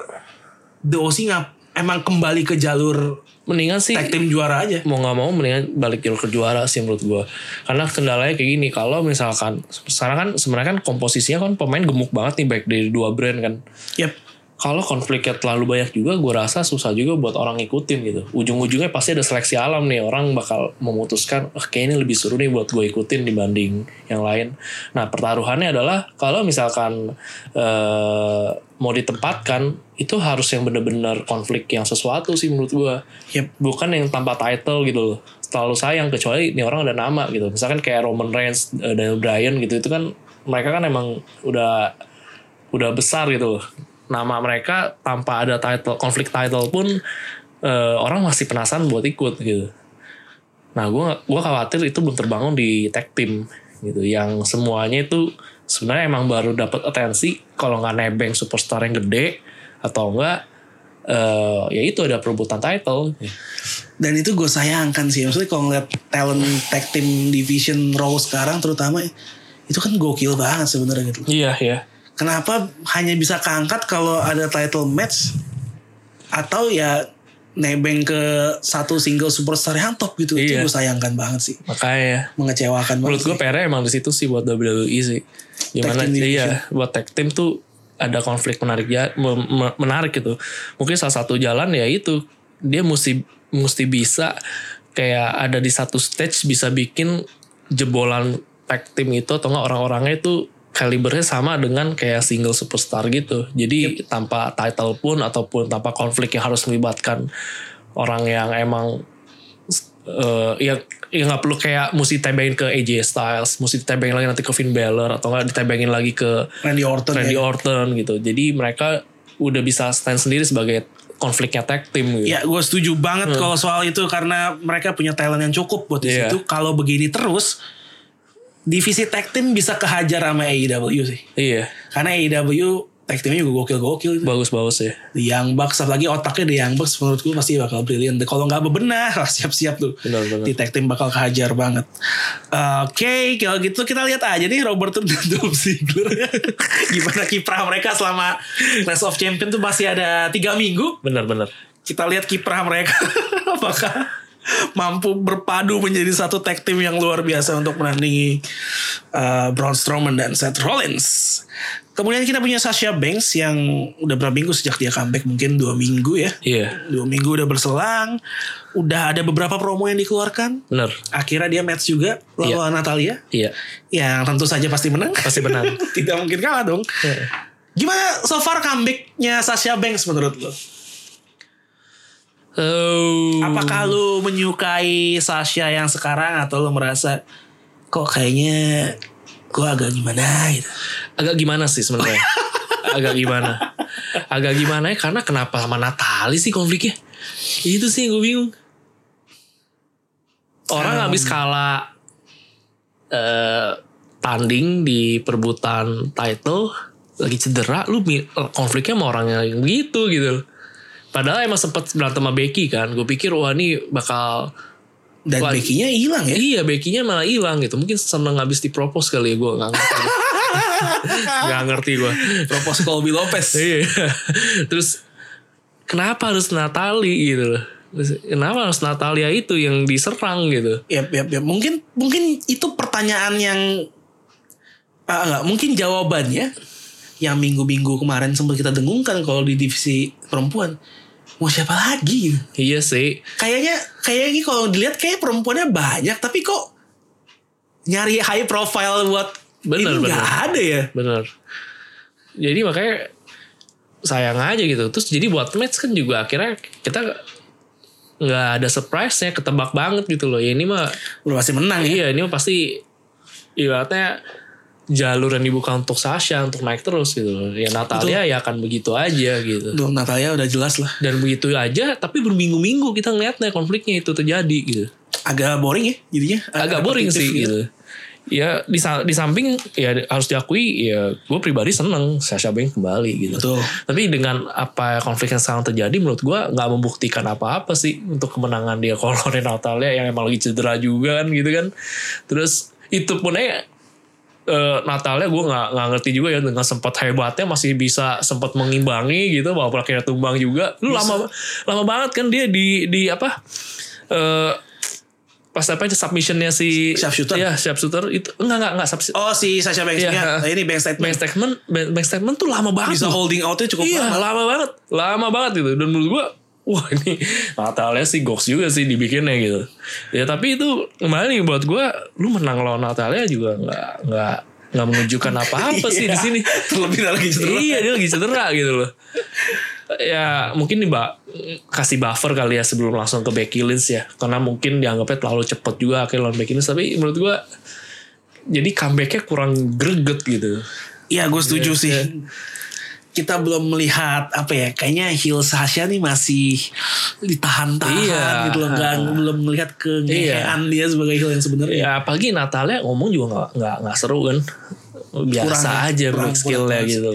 the OC ngap emang kembali ke jalur
mendingan sih
tag team juara aja?
mau nggak mau mendingan balik jalur ke juara sih menurut gue karena kendalanya kayak gini kalau misalkan sekarang kan sebenarnya kan komposisinya kan pemain gemuk banget nih baik dari dua brand kan
Yep.
kalau konfliknya terlalu banyak juga gue rasa susah juga buat orang ngikutin gitu ujung-ujungnya pasti ada seleksi alam nih orang bakal memutuskan "Ah, kayaknya ini lebih seru nih buat gue ikutin dibanding yang lain nah pertaruhannya adalah kalau misalkan eh, mau ditempatkan itu harus yang bener-bener konflik yang sesuatu sih menurut gue
Yep.
bukan yang tanpa title gitu loh terlalu sayang kecuali ini orang ada nama gitu misalkan kayak Roman Reigns eh, Daniel Bryan gitu itu kan mereka kan emang udah udah besar gitu loh nama mereka tanpa ada title konflik title pun eh, orang masih penasaran buat ikut gitu nah gue gua khawatir itu belum terbangun di tag team gitu yang semuanya itu sebenarnya emang baru dapat atensi kalau nggak nebeng superstar yang gede atau enggak eh ya itu ada perebutan title
Dan itu gue sayangkan sih. Maksudnya kalau ngeliat talent tag team division Raw sekarang terutama itu kan gokil banget sebenarnya gitu.
Iya ya.
Kenapa hanya bisa keangkat kalau ada title match atau ya nebeng ke satu single superstar yang top gitu.
Iya.
Itu gue sayangkan banget sih.
Makanya
mengecewakan
menurut gue
banget.
PR emang di situ sih buat WWE sih. Gimana
Tag team
iya buat tag team tuh ada konflik menarik ya me- me- menarik gitu. Mungkin salah satu jalan ya itu dia mesti mesti bisa kayak ada di satu stage bisa bikin jebolan tag team itu atau enggak orang-orangnya itu kalibernya sama dengan kayak single superstar gitu. Jadi tanpa title pun ataupun tanpa konflik yang harus melibatkan orang yang emang eh ya ya nggak perlu kayak mesti ditembengin ke AJ Styles, mesti ditembengin lagi nanti ke Finn Balor atau nggak ditembengin lagi ke
Randy Orton
Randy
ya.
Orton gitu. Jadi mereka udah bisa stand sendiri sebagai konfliknya tag team gitu.
Ya gue setuju banget kalau soal itu karena mereka punya talent yang cukup buat di
Iya.
situ. Kalau begini terus divisi tag team bisa kehajar sama AEW sih.
Iya,
Karena AEW tag teamnya juga gokil-gokil.
bagus-bagus ya.
The Young Bucks apalagi otaknya The Young Bucks menurut gue pasti bakal brilian. Kalau nggak bebenah lah siap-siap tuh.
Benar-benar.
Di tag team bakal kehajar banget. Oke, kalau gitu kita lihat aja nih Robert Roode dan Dolph Ziggler. Gimana kiprah mereka selama Clash of Champion tuh masih ada tiga minggu.
Bener-bener.
kita lihat kiprah mereka apakah mampu berpadu menjadi satu tag team yang luar biasa untuk menandingi uh, Braun Strowman dan Seth Rollins. Kemudian kita punya Sasha Banks yang udah berapa minggu sejak dia comeback mungkin dua minggu ya.
Iya,
Dua minggu udah berselang, udah ada beberapa promo yang dikeluarkan.
benar.
Akhirnya dia match juga lawan Natalia,
Iya,
yang tentu saja pasti menang.
pasti menang.
Tidak mungkin kalah dong. Gimana so far comebacknya Sasha Banks menurut lo?
Oh.
Apakah lu menyukai Sasha yang sekarang atau lu merasa kok kayaknya gua agak gimana gitu?
agak gimana sih sebenarnya? agak gimana? Agak gimana ya? Karena kenapa sama Natali sih konfliknya? Itu sih yang gue bingung. Orang habis kalah eh, tanding di perebutan title lagi cedera, lu mi- konfliknya sama orang yang gitu gitu. Padahal emang sempet berantem sama Becky kan. Gue pikir wah ini bakal
Dan
Wah.
Becky-nya hilang ya?
Iya, Becky-nya malah hilang gitu. Mungkin seneng habis dipropos kali ya gue nggak ngerti. Nggak ngerti gue.
Propos Colby Lopez.
Iya. Terus kenapa harus Natali gitu? loh? Terus, Kenapa harus Natalia itu yang diserang gitu?
Yap, yap, yap. Mungkin mungkin itu pertanyaan yang ah, enggak, mungkin jawabannya yang minggu-minggu kemarin sempat kita dengungkan kalau di divisi perempuan mau siapa lagi?
Iya sih.
Kayaknya kayaknya kalau dilihat kayak perempuannya banyak tapi kok nyari high profile buat
Bener,
itu
bener.
nggak ada ya.
Bener. Jadi makanya sayang aja gitu. Terus jadi buat match kan juga akhirnya kita nggak ada surprise-nya ketebak banget gitu loh. Ya ini mah
Lu masih menang ya.
iya ini mah pasti ibaratnya jalur yang dibuka untuk Sasha untuk naik terus gitu loh. Ya Natalia ya akan begitu aja gitu.
Duh, Natalia udah jelas lah.
Dan begitu aja tapi berminggu-minggu kita ngeliatnya konfliknya itu terjadi gitu.
Agak boring ya jadinya.
Agak boring
repetitif gitu.
sih gitu. Ya di, sa- di samping ya harus diakui ya gue pribadi seneng Sasha Banks kembali gitu.
Betul.
Tapi dengan apa konflik yang sekarang terjadi menurut gue nggak membuktikan apa-apa sih untuk kemenangan dia kalau Ren Natalia yang emang lagi cedera juga kan gitu kan. Terus itu pun aja eh, Natalia gue nggak nggak ngerti juga ya dengan sempat hebatnya masih bisa sempat mengimbangi gitu walaupun akhirnya tumbang juga. Lu lama lama banget kan dia di di apa? eh pas apa submissionnya si
Sharpshooter.
Iya, sharpshooter itu enggak enggak enggak subs-
Oh si Sasha Banks
Iya,
nya.
ha.
Ini Banks statement.
Bank statement, bank bank statement tuh lama banget.
Oh. Bisa
loh
holding outnya cukup
iya,
lama.
lama. banget. Lama banget gitu. Dan menurut gua wah ini Natalia sih goks juga sih dibikinnya gitu. Ya tapi itu kembali buat gua lu menang lawan Natalia juga nggak nggak nggak menunjukkan apa-apa sih di
Iya.
sini.
Terlebih lagi cedera.
Iya dia lagi cedera gitu loh. Ya mungkin nih mbak kasih buffer kali ya sebelum langsung ke Becky Lynch ya. Karena mungkin dianggapnya terlalu cepet juga akhirnya lawan Becky Lynch. Tapi menurut gua jadi comebacknya kurang greget gitu.
Iya gue setuju sih. Kita belum melihat apa ya. Kayaknya heel Sasha nih masih ditahan-tahan
Iya.
gitu loh. Nggak- belum melihat kengean dia sebagai heel yang sebenarnya.
Ya apalagi Natalia ngomong juga nggak nggak nggak seru kan. Biasa
Kurang,
aja
kurang, Iya.
kurang, skillnya
kurang.
gitu.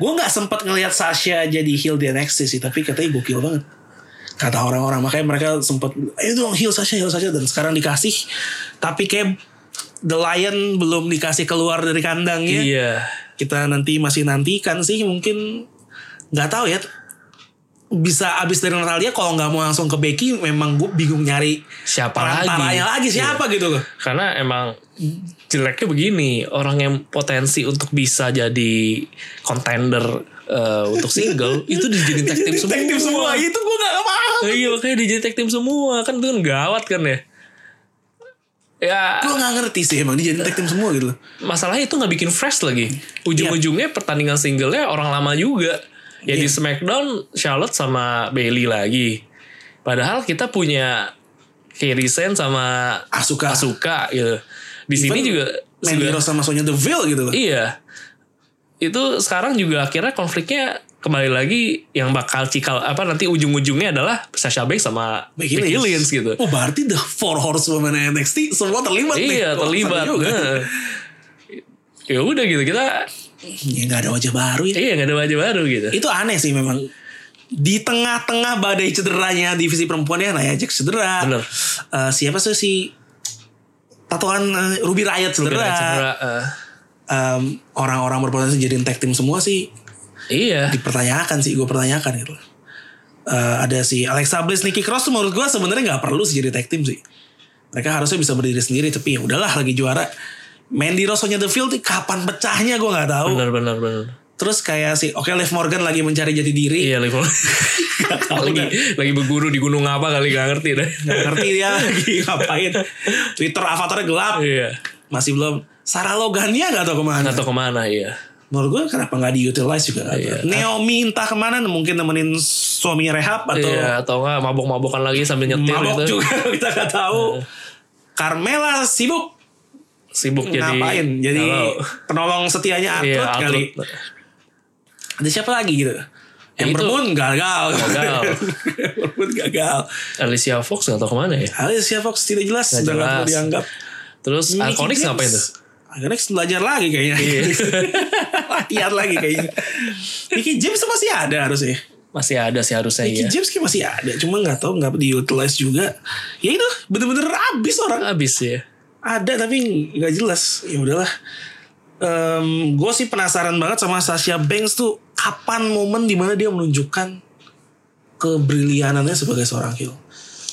Gue nggak sempat ngelihat Sasha jadi heel di NXT sih. Tapi katanya gokil banget. Kata orang-orang. Makanya mereka sempat. Ayo dong heel Sasha, heel Sasha. Dan sekarang dikasih. Tapi kayak The Lion belum dikasih keluar dari kandangnya.
Iya.
kita nanti masih nantikan sih mungkin nggak tahu ya bisa abis dari Natalia kalau nggak mau langsung ke Becky memang gue bingung nyari
Siapa
perantaranya
lagi? Iya.
lagi siapa gitu loh
Karena emang jeleknya begini orang yang potensi untuk bisa jadi contender eh, untuk single itu dijadiin tag team semua.
detektif semua iya. itu gue nggak paham
Nah, iya makanya dijadiin tag team semua kan itu kan gawat kan ya. Ya
gue nggak ngerti sih emang dia jadi detektif semua gitu loh
masalahnya itu nggak bikin fresh lagi.
Iya.
Ujung-ujungnya pertandingan singlenya orang lama juga. Ya
Iya.
di SmackDown Charlotte sama Bailey lagi. Padahal kita punya Kairi Sen sama
Asuka
Asuka gitu. Di sini
Even
juga
Mandy
juga-
Rose sama Sonya Deville gitu loh
iya. Itu sekarang juga akhirnya konfliknya kembali lagi yang bakal cikal apa nanti ujung-ujungnya adalah Sasha Banks sama Becky, Lynch. gitu.
oh berarti the four horsewomen NXT semua terlibat nih
iya,
Wah,
terlibat.
seru juga.
Nah. Ya udah gitu kita
ya nggak ada wajah baru ya
Iya gak ada wajah baru gitu
itu aneh sih memang di tengah-tengah badai cederanya divisi perempuan ya Naya Jax cedera
Bener.
Eh, siapa sih si tatoan eh, Ruby Riot cedera
Cedera, cedera, eh.
Em, orang-orang berpotensi jadiin tag team semua sih
Iya
dipertanyakan sih gue pertanyakan gitu Eh, ada si Alexa Bliss, Nikki Cross tuh menurut gue sebenarnya nggak perlu sih jadi tag team sih mereka harusnya bisa berdiri sendiri tapi ya udahlah lagi juara Mandy Rose-nya The Field kapan pecahnya gue nggak tahu.
Benar benar benar.
Terus kayak si oke Liv Morgan lagi mencari jati diri.
Iya lagi lagi lagi berguru di gunung apa kali gak ngerti deh.
Gak ngerti dia lagi ngapain. Twitter avatarnya gelap.
Iya.
Masih belum. Sarah Logan-nya gak tau kemana.
Nggak tahu kemana iya.
Menurut gue kenapa gak diutilize juga. nggak
Iya.
tahu. Naomi entah kemana mungkin nemenin suaminya rehab atau
Iya atau nggak mabok-mabokan lagi sambil nyetir
mabok
gitu. Iya.
juga kita gak tahu. Carmela sibuk
Sibuk jadi
ngapain. Jadi
Nggak tahu.
penolong setianya Atlet
Iya,
kali.
atlet.
Ada siapa lagi gitu? Yang
Ya, itu-
Moon gagal.
Gagal.
Ember Moon gagal.
Alicia Fox nggak tahu kemana ya.
Alicia Fox tidak jelas.
Nggak
Sudah nggak perlu
jelas.
dianggap.
Terus Iconics ngapain tuh?
Iconics belajar lagi kayaknya.
Iya.
Latihan lagi kayaknya. Mickey James tuh masih ada harusnya.
Masih ada sih harusnya
Mickey
iya.
James kayak masih ada. Cuma nggak tahu nggak diutilize juga. Ya itu bener-bener abis orang.
Abis ya.
Ada tapi nggak jelas. Ya udahlah. gue sih penasaran banget sama Sasha Banks tuh kapan momen dimana dia menunjukkan kebrilianannya sebagai seorang heel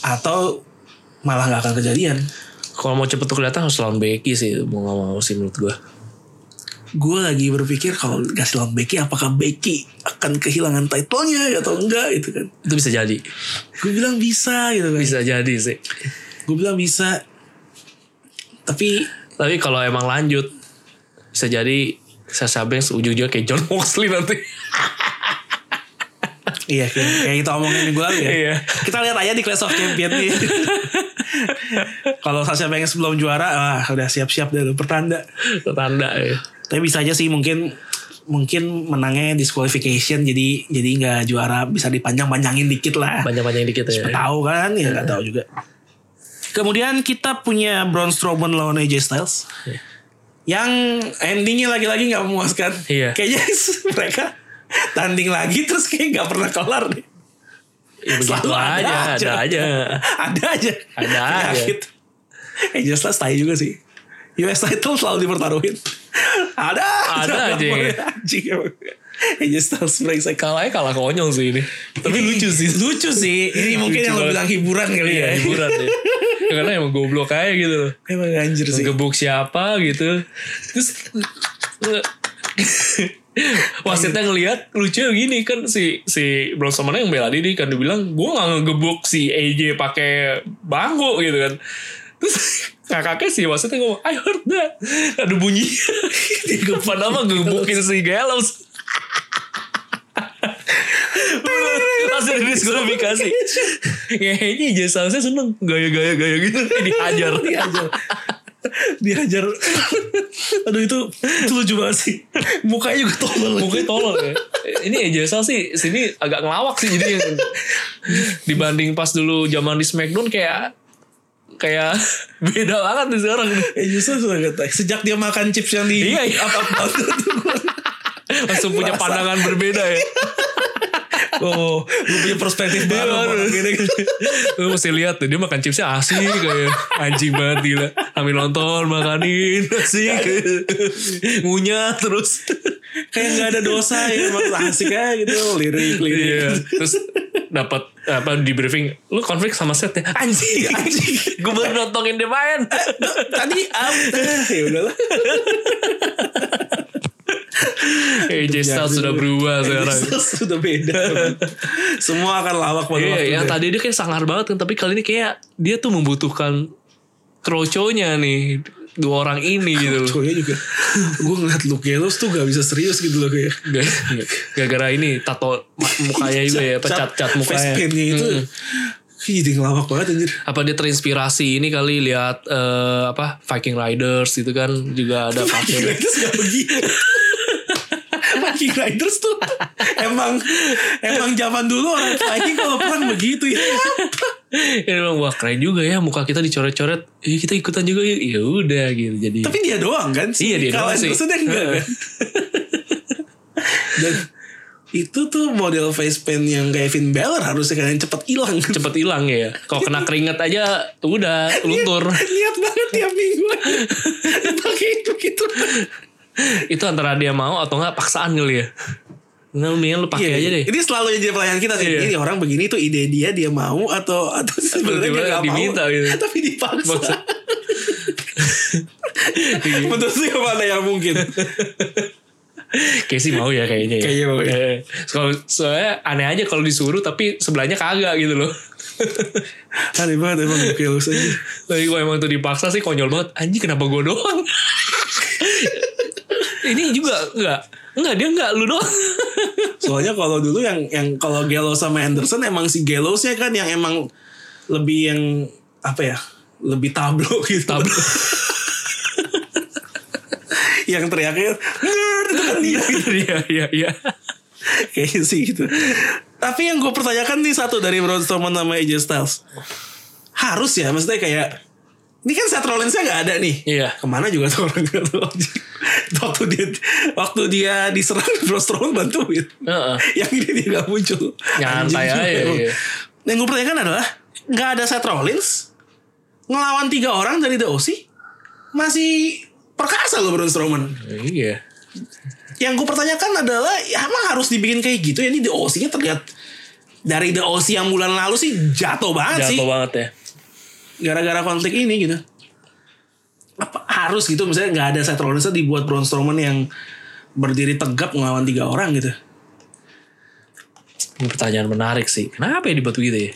atau malah nggak akan kejadian.
Kalau mau cepet tuh kelihatan harus lawan Becky sih mau nggak mau sih menurut gue.
gue lagi berpikir kalau kasih lawan Becky apakah Becky akan kehilangan titlenya atau enggak gitu kan
Itu bisa jadi.
gue bilang bisa gitu kan
Bisa jadi sih.
gue bilang bisa tapi
Tapi kalau emang lanjut bisa jadi Sasha Banks ujung-ujungnya kayak John Moxley nanti.
iya kayak, kayak kita omongin minggu lalu ya
Iya.
kita lihat aja di Clash of Champions nih kalau Sasha Banks belum juara ah udah siap-siap dari pertanda
Tanda ya.
tapi bisa aja sih mungkin mungkin menangnya disqualification jadi jadi nggak juara bisa dipanjang-panjangin dikit lah
Panjang-panjang dikit ya.
tahu kan ya nggak tahu juga kemudian kita punya Braun Strowman lawan AJ Styles yang endingnya lagi-lagi nggak memuaskan
Iya.
kayaknya mereka tanding lagi terus kayak nggak pernah kelar deh
Ya begitu
Selalu ada
aja,
aja.
ada aja.
ada aja
Ada aja.
Penyakit. Eh, AJ Styles tai juga sih US title selalu dipertaruhin ada
Ada aja.
anjing emang. AJ Styles brengsek
Kalahnya kalah konyol sih ini. Tapi
Ini
lucu sih.
lucu sih ini mungkin
Lucu
yang lo
banget.
bilang hiburan kali
Iya,
ya
hiburan ya. Ya, Karena emang goblok aja gitu loh.
emang anjir Gitu sih
Ngegebuk siapa gitu. Terus wasitnya ngelihat lucu gini kan si si Braun Strowman yang bela diri kan dibilang gue nggak ngegebuk si AJ pakai bangku gitu kan terus kakaknya si wasitnya ngomong I heard that ada bunyi di depan apa ngegebukin si Gallows Hasil diskualifikasi Ngehenya aja sausnya seneng Gaya-gaya-gaya gitu Dihajar
dihajar dihajar aduh itu itu lucu banget sih mukanya juga tolol
Mukanya tolol ya. Ini Ejasa sih sini agak ngelawak sih jadi dibanding pas dulu zaman di Smackdown kayak kayak beda banget nih sekarang.
ya justru sudah kata sejak dia makan chips yang di
Iya, iya.
apa apa
Langsung punya
Merasa.
pandangan berbeda ya.
oh lu punya perspektif baru orang gini.
Lu mesti lihat tuh dia makan chipsnya asik kayak anjing banget gila. Ambil nonton makanin asik.
Iya.
Ngunyah terus.
kayak nggak ada dosa ya emang asik aja gitu lirik lirik
Iya. Terus dapat apa di briefing lu konflik sama set ya anjing anjing gue baru nontonin dia main
tadi out ya udahlah
AJ
Iya,
Styles Eh, sudah berubah sekarang
sudah beda semua akan lawak pada
Iya,
waktunya.
yang tadi dia kayak sangar banget kan, tapi kali ini kayak dia tuh membutuhkan kroconya nih dua orang ini gitu loh.
Cowoknya juga Gue ngeliat Luke Gallows tuh gak bisa serius gitu loh kayak
Gara- Gara-gara ini tato ma- mukanya juga ya, pecat-cat
Face
mukanya. Hmm.
paintnya itu kayak Jadi ngelawak banget anjir
Apa dia terinspirasi ini kali lihat eh, apa Viking Riders gitu kan juga ada
Viking
pakai.
Riders gak begitu Viking Riders tuh Emang Emang zaman dulu orang Viking kalau perang begitu ya
Ya emang wah keren juga ya muka kita dicoret-coret. Ya, kita ikutan juga yuk. Ya udah gitu jadi.
Tapi dia doang kan
Iya, dia doang sih.
Maksudnya enggak kan Dan Itu tuh model face paint yang kayak Finn Balor Harusnya kalian cepet hilang
cepet hilang ya. Kalau kena keringat aja udah luntur.
Niat banget tiap minggu Pakai itu gitu
itu antara dia mau atau enggak paksaan kali ya Nggak, mendingan lu
Iya,
pakai aja deh
Ini selalu yang jadi pertanyaan kita sih.
Iya.
Jadi orang begini tuh ide dia dia mau atau atau sebenarnya dia
tiba-tiba
nggak mau.
diminta gitu.
Tapi dipaksa.
Maksa.
Putusnya mana yang ya, mungkin?
Casey mau ya kayaknya ya.
Kayaknya mau ya.
Eh, Kalau soalnya aneh aja kalau disuruh tapi sebelahnya kagak gitu loh.
Aneh banget emang gokil aja.
Lagi kalau emang tuh dipaksa sih konyol banget. Anjing kenapa gue doang? Ini juga enggak. Enggak dia enggak lu doang.
Soalnya kalau dulu yang yang kalau Gallo sama Henderson emang si Gallo-nya kan yang emang lebih yang apa ya? Lebih tablo gitu.
Tablo.
yang teriaknya nerd itu kan dia.
Iya iya iya.
Kayaknya sih gitu. Tapi yang gue pertanyakan nih satu dari Braun Strowman sama AJ Styles. Harus ya, maksudnya kayak ini kan Seth Rollins-nya gak ada nih.
Iya.
Kemana juga tuh orang gak tahu. waktu dia waktu dia diserang Braun Strowman bantuin.
Heeh.
Yang ini dia gak muncul.
Nyantai
Anjing juga
aja,
emang.
iya.
Yang gue pertanyakan adalah nggak ada Seth Rollins ngelawan tiga orang dari The OC masih perkasa loh Braun Strowman
Iya.
yang gue pertanyakan adalah ya emang harus dibikin kayak gitu ya ini the OC-nya terlihat dari the OC yang bulan lalu sih jatuh banget sih
Jatuh banget ya.
gara-gara konflik ini gitu apa harus gitu misalnya nggak ada Seth Rollins dibuat Braun Strowman yang berdiri tegap ngelawan tiga orang gitu
Ini pertanyaan menarik sih. Kenapa ya dibuat begitu ya?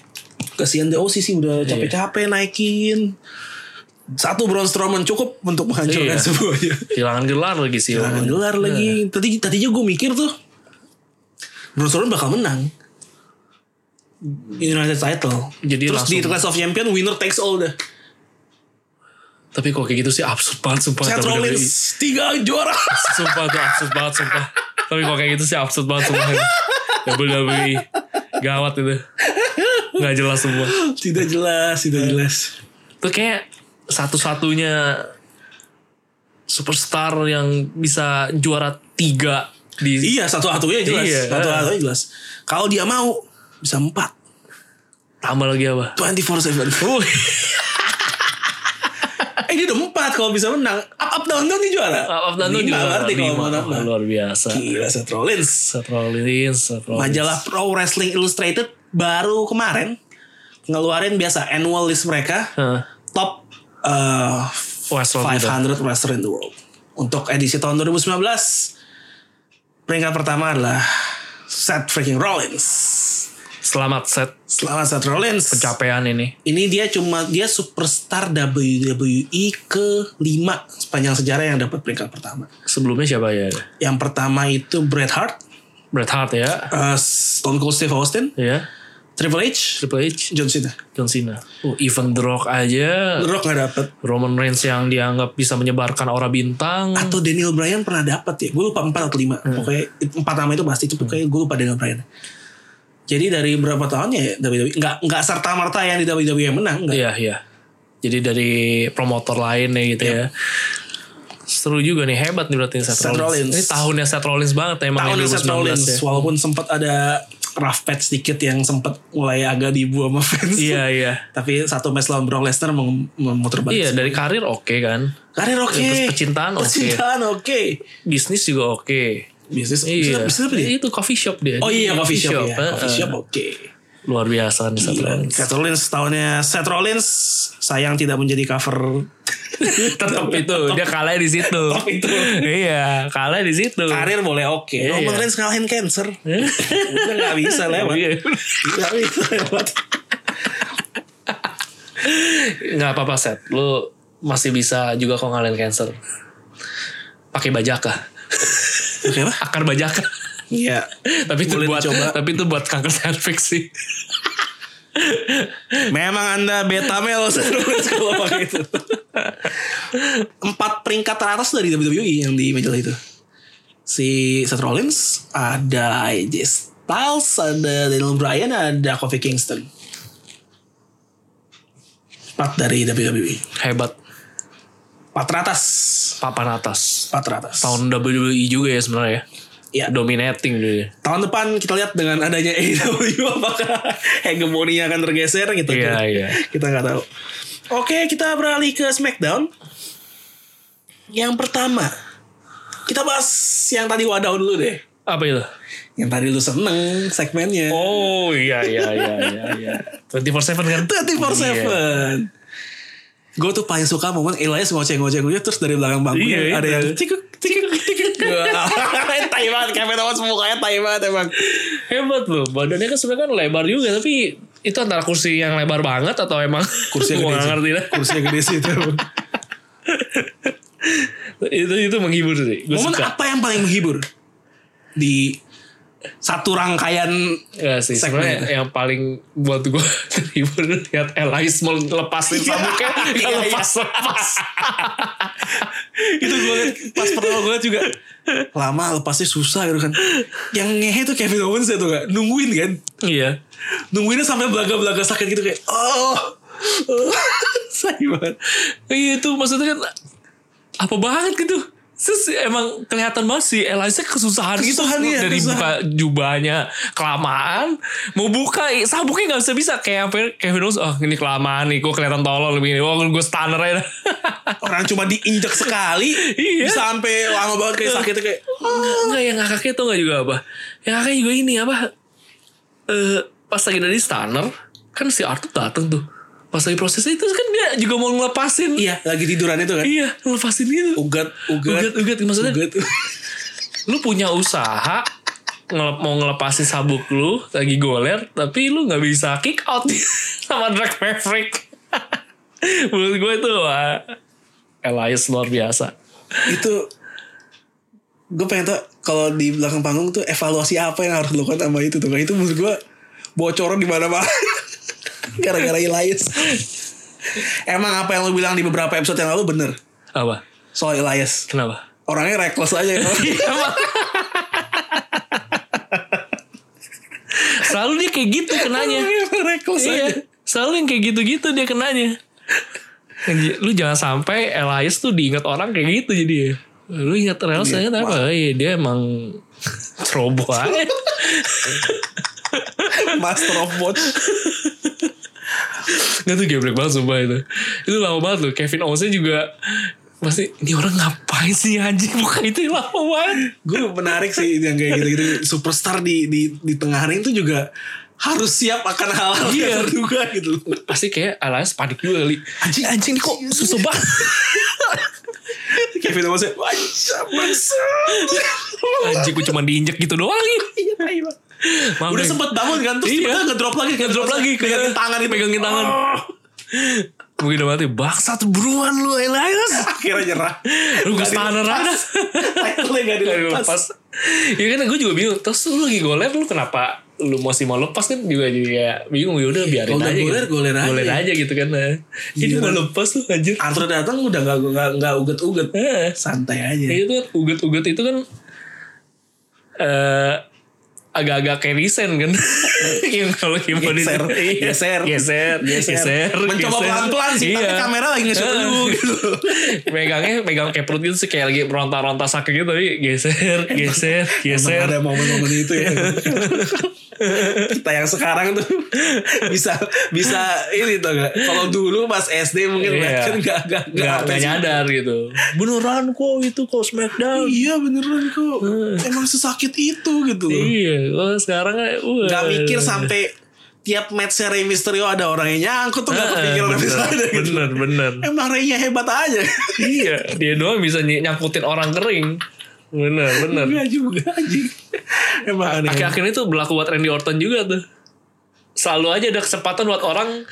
kasihan the OC sih udah
Iya.
capek-capek naikin satu Braun Strowman cukup untuk menghancurkan
Iya.
semuanya
Kehilangan gelar lagi sih.
Jangan gelar lagi tadi tadinya gue mikir tuh Braun Strowman bakal menang United title
Jadi
terus di
langsung-
Clash of Champion winner takes all dah
Tapi kok kayak gitu sih absurd banget sumpah.
Seth
WWE.
Rollins tiga juara
Sumpah tuh absurd banget sumpah. Tapi kok kayak gitu sih absurd banget sumpah. WWE gawat itu. Gak jelas semua.
tidak jelas tidak jelas
Itu kayak satu-satunya superstar yang bisa juara tiga di
iya satu satunya jelas
Iya.
satu satunya jelas kalau dia mau bisa empat
tambah lagi apa?
24 four seven
Wuh,
eh dia udah empat kalau bisa menang up up down down dia juara
up down tuh
Lima
juara
berarti kalau
lima.
mau nambah
Luar biasa.
gila Seth Rollins
Seth Rollins, Seth Rollins.
majalah Pro Wrestling Illustrated baru kemarin ngeluarin biasa annual list mereka
Hah.
top uh,
Westworld
500 wrestler in the world untuk edisi tahun 2019 peringkat pertama adalah Seth freaking Rollins
Selamat Seth
selamat Seth Rollins
capaian ini.
ini dia cuma dia superstar WWE kelima sepanjang sejarah yang dapat peringkat pertama
Sebelumnya siapa ya?
yang pertama itu Bret Hart
Bret Hart ya.
uh, Stone Cold Steve Austin
Ya.
Triple H
Triple H,
John Cena
John Cena. Oh, even The Rock aja.
The Rock gak dapet
Roman Reigns yang dianggap bisa menyebarkan aura bintang.
atau Daniel Bryan pernah dapat ya gue lupa empat atau lima
Eh.
pokoknya empat nama itu pasti itu
Hmm.
pokoknya gue lupa Daniel Bryan jadi dari berapa tahunnya ya WWE nggak nggak serta merta yang di WWE yang menang nggak
Iya, iya. Jadi dari promotor lain ya gitu ya. Seru juga nih, hebat nih berarti
Iya.
Seth,
Seth
Rollins.
Rollins.
Ini tahunnya Seth Rollins banget ya emang
tahun
yang
Seth
2019
Rollins
ya.
walaupun sempat ada rough patch sedikit yang sempat mulai agak dibu sama fans
Iya, iya.
tapi satu match lawan Brock Lesnar mem- memutar balik
Iya, dari karir oke kan.
karir oke
Terus percintaan oke.
percintaan oke
Bisnis juga oke.
bisnis
Iya.
bisnis apa dia?
Itu coffee shop dia.
oh iya
Dia
coffee shop, ya.
eh,
coffee shop
eh.
oke
Luar biasa nih Seth
Gila,
Rollins.
Seth Rollins tahunnya Seth Rollins sayang tidak menjadi cover
Tetap itu, dia kalah di situ.
Tetap itu.
iya, kalah di situ.
karir boleh oke.
Iya,
Roman
iya.
Reigns ngalahin cancer. Udah gak bisa lewat.
Iya.
gak bisa lewat.
nggak apa-apa set lu masih bisa juga kok ngalahin cancer pakai bajaka
Oke apa?
akar bajaka
Iya.
tapi itu
Boleh
buat
dicoba.
tapi itu buat kanker cervix sih
Memang anda beta male Seth Rollins kalau pakai itu. Empat peringkat teratas dari WWE yang di majalah itu. Si Seth Rollins, ada AJ Styles, ada Daniel Bryan, ada Kofi Kingston. Empat dari WWE.
hebat
Empat teratas.
papan atas
Empat teratas.
tahun WWE juga ya sebenarnya ya.
Iya.
dominating ya. dia
tahun depan kita lihat dengan adanya AEW apakah hegemoninya akan tergeser gitu
iya
kita,
iya
kita nggak tahu oke kita beralih ke Smackdown yang pertama kita bahas yang tadi Wadaw dulu deh
apa itu
yang tadi lu seneng segmennya
oh iya iya iya iya iya 24/7 kan
24
Iya.
seven Gue tuh paling suka momen Elias ngoceh-ngoceh gue terus dari belakang bangku
Iya, iya,
ada yang
bener.
cikuk cikuk cikuk. Wah, tai banget Kevin Owens mukanya tai banget emang.
Hebat loh, badannya kan sebenarnya kan lebar juga tapi itu antara kursi yang lebar banget atau emang
Kursinya gede
Gua nggak
sih.
ngerti dah.
Kursinya gede sih itu.
itu itu menghibur sih. Gue
Momen
suka.
apa yang paling menghibur di satu rangkaian
Ya sih,
Segmen
sebenarnya yang paling buat gue terhibur lihat Elias mau lepasin sabuknya,
Iya, iya.
lepas lepas.
itu gue liat pas pertama gue liat juga lama lepasnya susah gitu kan yang ngehe tuh Kevin Owens ya tuh kan nungguin kan
Iya.
nungguinnya sampai belaga-belaga sakit gitu kayak oh
Sayang banget. Iya itu maksudnya kan apa banget gitu. Terus emang kelihatan banget sih Eliasnya kesusahan,
Kesusahan,
gitu.
iya,
Dari
kesusahan.
buka jubahnya kelamaan. Mau buka i- sabuknya gak bisa-bisa. Kayak hampir Kevin Owens. Oh ini kelamaan nih. Gue kelihatan tolol lebih ini. Wah gue stunner aja.
orang cuma diinjak sekali
Iya.
bisa sampai lama banget kayak sakit kayak
Enggak,
Oh.
enggak yang ngakaknya tuh enggak juga apa. Yang ngakaknya juga ini apa. Eh pas lagi dari stunner. Kan si Arthur dateng tuh. Pas lagi prosesnya itu kan dia juga mau ngelepasin.
iya lagi tiduran itu kan
Iya, lepasin gitu.
ugat
Ugat,
ugat
ugat, maksudnya
ugat
lu punya usaha ngele- mau ngelepasin sabuk lu lagi goler tapi lu nggak bisa kick out sama Drake Maverick menurut gue itu wah, Elias luar biasa
itu gue pengen tau kalau di belakang panggung tuh evaluasi apa yang harus dilakukan sama itu tuh kayak itu menurut gue bocoran di mana mana gara-gara Elias emang apa yang lo bilang di beberapa episode yang lalu bener
apa
soal Elias
kenapa
orangnya reckless aja ya.
Iya. selalu dia kayak gitu kenanya
Orangnya reckless
iya
aja
selalu yang kayak gitu-gitu dia kenanya Anjir, lu jangan sampai Elias tuh diingat orang kayak gitu jadi ya lu ingat Elias
Iya,
ingat apa iya dia emang ceroboh aja
master of bots
Gak tuh geblek banget sumpah itu Itu lama banget loh Kevin Owensnya juga Pasti ini orang ngapain sih anjing Bukan itu lama banget
gue menarik sih yang kayak gitu-gitu superstar di di di tengah ring tuh juga harus siap akan hal-hal
Iya.
yang terduga gitu Iya.
Pasti kayak Elias panik juga kali
anjing anjing kok
Susah banget
Kevin Owens anjing bangsa
Anjing gue cuma diinjek gitu doang nih Maaf
udah
deh.
sempet bangun kan terus
Iya.
tiba-tiba ngedrop lagi
Ngedrop lagi ke-
pegangin tangan itu
Pegangin tangan Mungkin udah mati Baksat buruan lu Elias
akhirnya nyerah
Lu gue
Nggak
stunner aja
title gak dilepas
lepas. Ya kan gue juga bingung. Terus lu lagi goler lu kenapa lu masih mau lepas kan juga juga ya bingung ya udah biarin
Kalau udah
aja.
goler,
gitu.
goler aja. Iya. Ah.
gitu kan. eh. Ini mau lepas tuh anjir.
Arthur datang udah gak gak gak uget-uget
Heeh.
santai aja
Ya itu kan uget-uget itu kan eh agak-agak kayak risen kan. yang kalau yang body-
Geser,
Iya.
geser,
geser, geser,
Mencoba
geser.
pelan-pelan sih, tapi
Iya.
kamera lagi nge-shoot
Eh.
dulu gitu.
Megangnya megang kayak perut gitu sih kayak lagi meronta-ronta sakit gitu tapi geser, geser,
Emang
geser.
ada momen-momen itu ya. Kita yang sekarang tuh bisa bisa ini tau gak? Kalau dulu pas SD mungkin
Iya.
kan gak gak
nggak nggak nyadar gitu beneran kok itu kok smackdown
Iya beneran kok. Emang sesakit itu gitu. loh.
Eh. iya kok sekarang kan wah.
Gak mikir sampai tiap match Rey Mysterio ada orang yang nyangkut tuh gak
Ah,
kepikiran
bener,
habis ada gitu.
bener bener
Emang Rey-nya hebat aja.
iya dia doang bisa ny- nyangkutin orang kering Iya. bener bener
Enggak juga anjing. Emang aneh.
akhir-akhir itu berlaku buat Randy Orton juga tuh selalu aja ada kesempatan buat orang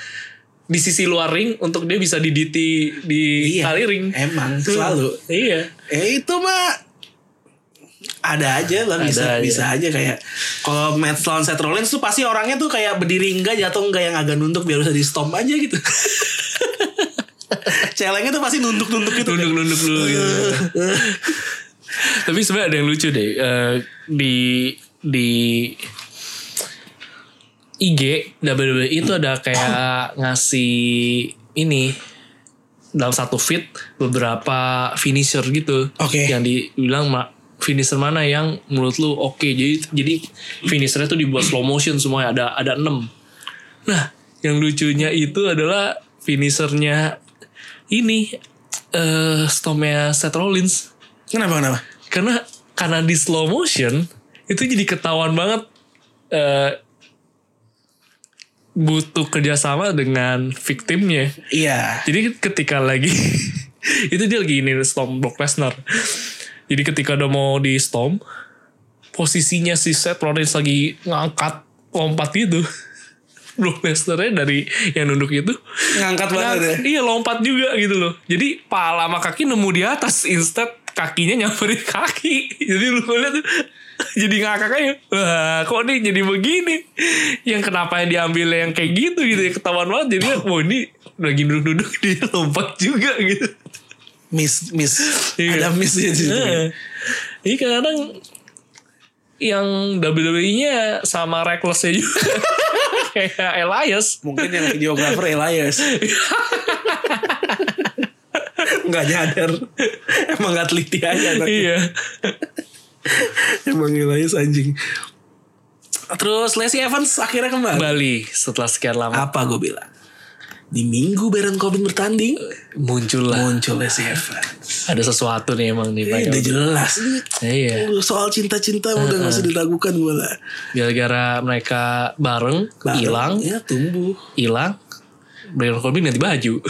di sisi luar ring untuk dia bisa diditi di
Iya,
kali ring
emang,
Tuh.
selalu.
iya
Eh itu mah ada aja lah bisa
Ada aja.
bisa aja kayak kalau match lawan Seth Rollins tuh pasti orangnya tuh kayak berdiri enggak jatuh enggak yang agak nunduk biar bisa di stomp aja gitu. Celengnya tuh pasti nunduk-nunduk gitu.
nunduk-nunduk dulu gitu. Tapi sebenarnya ada yang lucu deh eh, di di IG WWE E itu ada kayak ngasih ini dalam satu feed beberapa finisher gitu
Oke.
yang dibilang ma- finisher mana yang menurut lu oke jadi jadi finishernya tuh dibuat slow motion semuanya ada ada enam Nah, yang lucunya itu adalah finishernya ini eh stomnya Seth Rollins.
Kenapa kenapa?
Karena karena di slow motion itu jadi ketahuan banget eh butuh kerjasama dengan victimnya.
Iya.
Jadi ketika lagi itu dia lagi ini storm Brock Lesnar. Jadi ketika udah mau di storm posisinya si Seth Rollins lagi ngangkat lompat gitu. Brock Lesnar-nya dari yang nunduk itu
Ngangkat banget ya.
Nah, Iya lompat juga gitu loh. Jadi pala sama kaki nemu di atas instead kakinya nyamperin kaki. Jadi lu lihat tuh, jadi ngakak aja. Wah, kok nih jadi begini? Yang kenapa yang diambil yang kayak gitu gitu ya ketahuan banget. Jadi wah ini lagi duduk-duduk dia lompat juga gitu.
Miss, miss.
Iya.
Ada miss ya. di situ.
Heeh. Jadi kadang yang WWE-nya sama reckless-nya juga. kayak Elias.
Mungkin yang videographer Elias. Nggak nyadar. Emang nggak teliti aja. anaknya.
Iya.
Emang Elias anjing. Terus Lacey Evans akhirnya kembali.
Bali setelah sekian lama
Apa gue bilang? Di minggu Baron Corbin bertanding,
muncullah
muncul Lacey Evans.
ada sesuatu nih emang nih Pak.
Eh, udah jelas.
Iya.
Soal cinta-cinta udah nggak usah diragukan gue lah.
Gara-gara mereka bareng
Bareng,
hilang,
Ya tumbuh.
hilang. Brian Corbin ganti baju.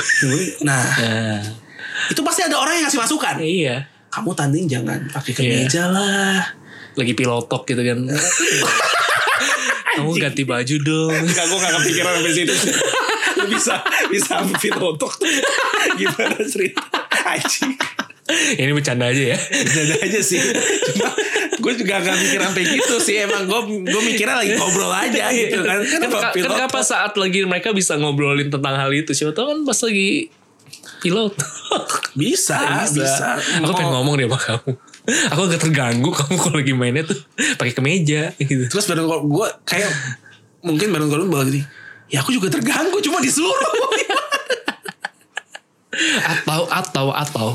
Nah,
Nah,
itu pasti ada orang yang ngasih masukan.
iya.
Kamu tanding jangan pakai kemeja lah.
Lagi pilotok gitu kan. Kamu ganti baju dong.
Enggak, gue gak kepikiran sampai situ. Lu bisa bisa ambil otok. Gimana cerita? Anjing.
Ini bercanda aja ya.
Jadi aja sih. Cuma gue juga gak mikir sampai gitu sih. Emang gue gue mikirnya lagi ngobrol aja gitu kan.
Kan,
Kenapa
kan,
pilot?
apa saat lagi mereka bisa ngobrolin tentang hal itu? Siapa tahu kan pas lagi pilot.
Bisa,
Ah,
Ah, bisa. Oh.
Aku pengen
Mau-
ngomong deh sama kamu. Aku agak terganggu kamu kalau lagi mainnya tuh pakai kemeja gitu.
Terus badan gue, gue kayak mungkin badan gue bakal gini. Ya aku juga terganggu cuma disuruh.
atau atau atau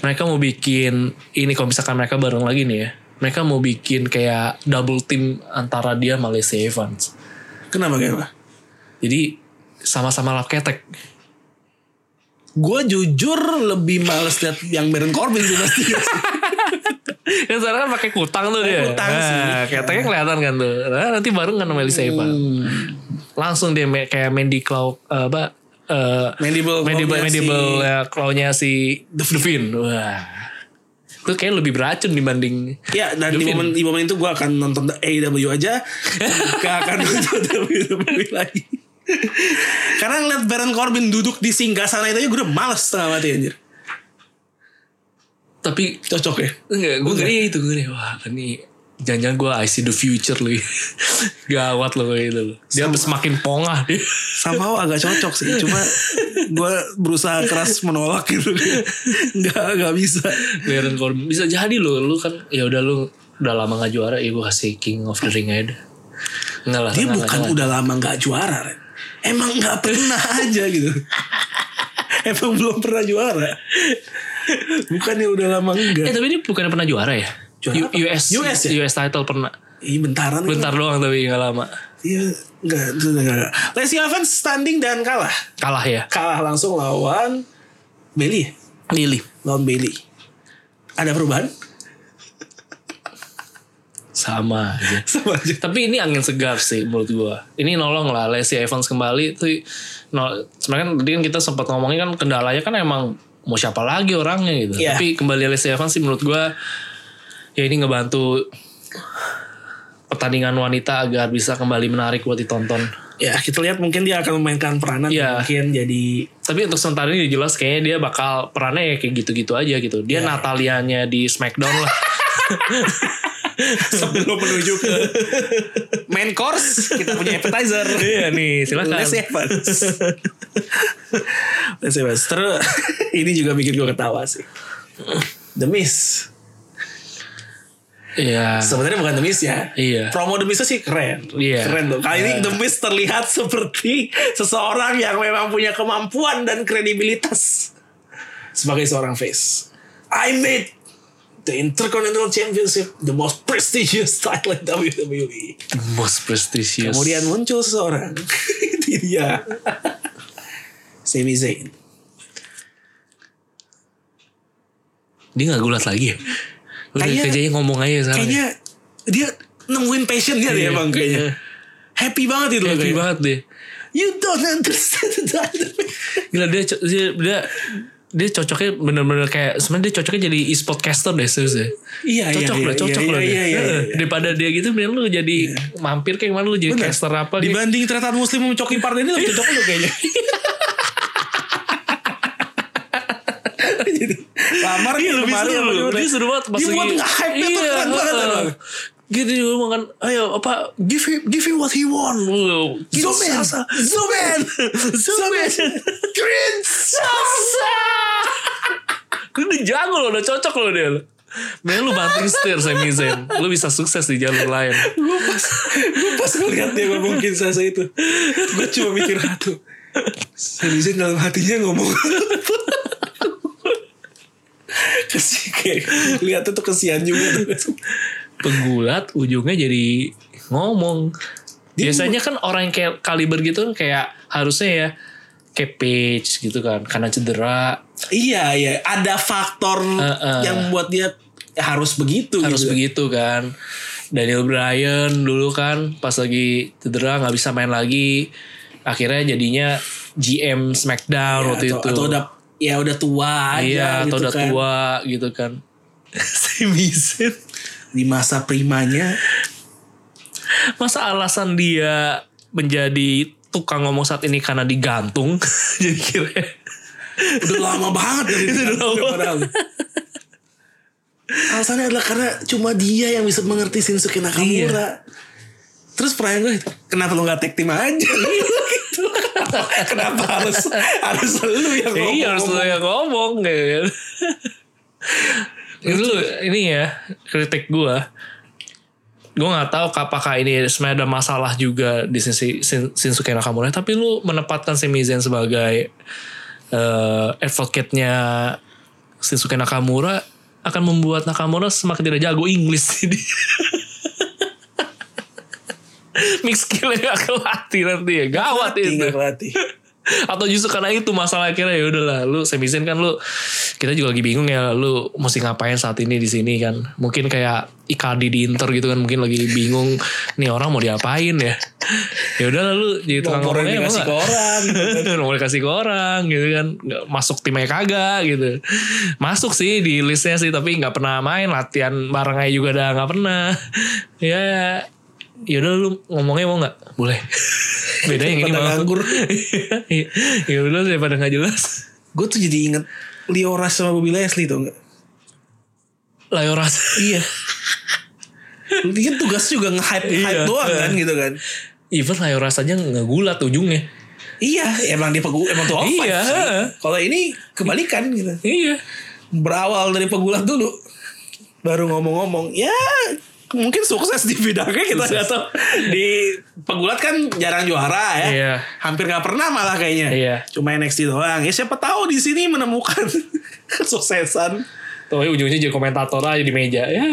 mereka mau bikin ini kalau misalkan mereka bareng lagi nih ya mereka mau bikin kayak double team antara dia sama Lacey Evans
Kenapa kenapa?
jadi sama-sama lap ketek
Gue jujur lebih males liat yang Baron Corbin sih pasti.
kan sekarang kan pakai kutang tuh dia
kutang sih.
nah, keteknya kelihatan kan tuh nah, nanti bareng kan sama Lacey Evans langsung dia me- kayak Mandy Claw eh, apa eh,
Mandible
Mandible
claw-nya
Mandible
si-
ya, claw-nya si Devin wah itu kayak lebih beracun dibanding
Ya dan di momen, di momen itu gue akan nonton AEW aja Gak akan nonton WWE lagi Karena ngeliat Baron Corbin duduk di singgah sana itu aja Gue udah males setengah mati anjir
tapi
Cocok ya
Enggak, gue ngeri itu gue ngeri. Wah, ini jangan-jangan gue I see the future loh. Gawat loh kayak gitu loh. Dia semakin pongah dia.
Somehow agak cocok sih Cuma gue berusaha keras menolak gitu Gak, gak bisa
Baron Corbin bisa jadi loh. Lu kan ya udah lu udah lama gak juara, ya gue kasih King of the Ring aja. deh. Enggak lah.
Dia
enggak,
bukan
enggak,
udah lama gak juara Ren. Emang gak pernah aja gitu Emang belum pernah juara Bukannya udah lama
enggak. Eh
enggak
tapi dia bukan pernah juara ya?
Juara
U-
apa?
US,
US ya?
US title pernah.
Ih bentaran kan.
Bentar doang tapi gak lama.
Iya, enggak, itu enggak, enggak. Lacey Evans standing dan kalah.
Kalah ya.
Kalah langsung lawan Bailey, ya?
Lili.
lawan Bailey. Ada perubahan?
Sama aja.
Sama aja.
Tapi ini angin segar sih menurut gua. Ini nolong lah Lacey Evans kembali itu no, sebenarnya kan tadi kan kita sempat ngomongin kan kendalanya kan emang mau siapa lagi orangnya gitu.
Iya.
Tapi kembali Lacey Evans sih menurut gua ya ini ngebantu pertandingan wanita agar bisa kembali menarik buat ditonton.
Ya, kita lihat mungkin dia akan memainkan peranan
Iya.
mungkin jadi
Tapi untuk sementara ini jelas kayaknya dia bakal perannya ya kayak gitu-gitu aja gitu.
Iya.
Dia Natalianya di Smackdown lah.
sebelum menuju ke main course kita punya appetizer.
iya nih, silakan.
Lacey Evans. Lacey Evans. Terus ini juga bikin gue ketawa sih. The Miss.
Iya.
Sebenarnya bukan The Miz ya.
Iya.
Promo The Miz sih keren.
Iya.
Keren loh. Kali ini The Miz terlihat seperti seseorang yang memang punya kemampuan dan kredibilitas sebagai seorang face. I made the Intercontinental Championship the most prestigious title in WWE.
The most prestigious.
Kemudian muncul seseorang. Itu dia. Sami Zayn.
Dia gak gulat lagi ya? Udah
Kayaknya-
kerjanya ngomong aja sekarang. ya?
Kayaknya dia nemuin passionnya deh
Iya,
emang kayaknya. Happy banget itu loh
Happy
kayaknya.
banget deh.
You don't understand the dynamic.
Gila dia co- dia dia, dia cocoknya bener-bener kayak sebenarnya dia cocoknya jadi e-sportcaster deh serius deh.
Iya, iya,
cocok
iya,
lah,
iya,
cocok
iya,
lah
iya,
dia.
iya, iya,
Heeh.
iya.
Daripada dia gitu mending lu jadi mampir kayak kemana lu jadi caster apa gitu.
Dibanding ternyata muslim mencoki partai ini lebih cocok lu kayaknya. Jadi, Lamar
Iya
kayak
lebih
kemarin apa
seru loh.
gimana?
Dia seru banget pas Iya,
Dia buat nge-hype-nya tuh keren banget.
heeh.
emang.
Gitu dia ngomong kan, ayo apa give him give him what he want. Wow.
Zoman,
Salsa.
Zoman, Zoman, Prince,
Salsa. Lu udah jago loh, udah cocok loh dia. Mending lu banting setir Sami Zayn. Lu bisa sukses di jalur lain.
Gue pas, gue pas ngeliat dia ngomongin Sasa itu, gue cuma mikir satu. Seriusin dalam hatinya ngomong. Kasih kayak lihatnya tuh kesian juga tuh.
Pegulat ujungnya jadi ngomong. Biasanya kan orang yang kayak kaliber gitu kayak harusnya ya kayak Page gitu kan karena cedera
Iya iya, ada faktor
Heeh.
yang membuat dia harus begitu.
harus
gitu.
begitu kan Daniel Bryan dulu kan pas lagi cedera nggak bisa main lagi akhirnya jadinya GM SmackDown
Ya,
waktu
atau,
itu
atau udah ya udah tua aja
iya
gitu
atau udah
kan.
tua gitu kan Sami Zayn
Di masa primanya
masa alasan dia menjadi tukang ngomong saat ini karena digantung jadi kira
udah lama banget dari
Itu udah lama.
Padahal. Alasannya adalah karena cuma dia yang bisa mengerti Shinsuke Nakamura. Iya. Terus pertanyaan gue kenapa lu gak tag team aja? Gitu. kenapa harus harus lu yang
ya
ngomong?
iya harus lo yang ngomong gitu Ini lu ini ya kritik gua gue nggak tahu apakah ini sebenarnya ada masalah juga di sisi Shin- Shinsuke Nakamura tapi lu menempatkan Sami Zayn sebagai eh advocate-nya Shinsuke Nakamura akan membuat Nakamura semakin tidak jago Inggris jadi mix skillnya gak kelatih nanti ya gawat itu
Tinggal pelatih.
atau justru karena itu masalah akhirnya ya udahlah lu Sami Zayn kan lu kita juga lagi bingung ya lu mesti ngapain saat ini di sini kan mungkin kayak Icardi di Inter gitu kan mungkin lagi bingung nih orang mau diapain ya ya udahlah lu jadi tukang
Nomornya
ngomongnya
dikasih ke orang.
mau dikasih ke orang gitu kan Nggak masuk timnya kagak gitu masuk sih di listnya sih tapi nggak pernah main latihan bareng aja juga udah nggak pernah ya ya udah lu ngomongnya mau nggak boleh beda yang ini
Pada
mau
nganggur.
Iya, ya udah daripada nggak jelas
Gue tuh jadi inget Lioras sama Bobby Leslie tuh enggak?
Layoras
Iya. Lu pikir tugas juga nge-hype hype
Iya.
doang kan gitu kan.
even Layoras aja ngegulat ujungnya
Iya, emang dia pegu, emang tuh five
Iya.
sih. Kalau ini kebalikan gitu.
iya
Berawal dari pegulat dulu, baru ngomong-ngomong. Ya, mungkin sukses di bidangnya kita nggak tahu. Di pegulat kan jarang juara ya.
Iya.
Hampir nggak pernah malah kayaknya.
Iya.
Cuma NXT doang. Ya siapa tahu di sini menemukan kesuksesan
tuh ujungnya jadi komentator aja di meja ya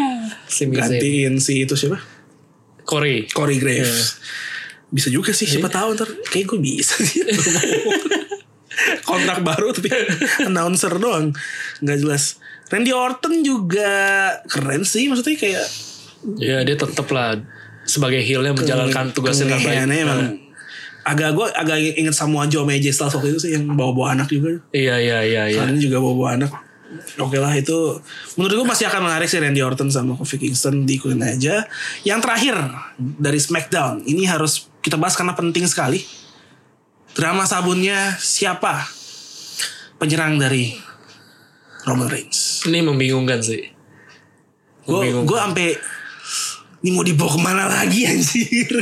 Sami Zayn
gantiin si itu siapa?
Corey
Corey
Iya.
Graves. Bisa juga sih, siapa tahu ntar kayak gue bisa sih. Kontrak baru tapi announcer doang. Nggak jelas. Randy Orton juga keren sih maksudnya kayak
ya dia tetap lah sebagai heelnya menjalankan tugasnya dengan baik Nah.
kengeheannya ya, emang. Agak gue agak inget Samoa Joe sama AJ Styles waktu itu sih yang bawa-bawa anak juga.
iya iya iya iya
Kalian juga bawa-bawa anak. Oke lah itu menurut gue masih akan menarik sih Randy Orton sama Kofi Kingston diikutin aja. Yang terakhir dari SmackDown ini harus kita bahas karena penting sekali. Drama sabunnya siapa? Penyerang dari Roman Reigns.
ini membingungkan sih
Gue
Membingungkan.
gue sampai ini mau dibawa kemana lagi anjir?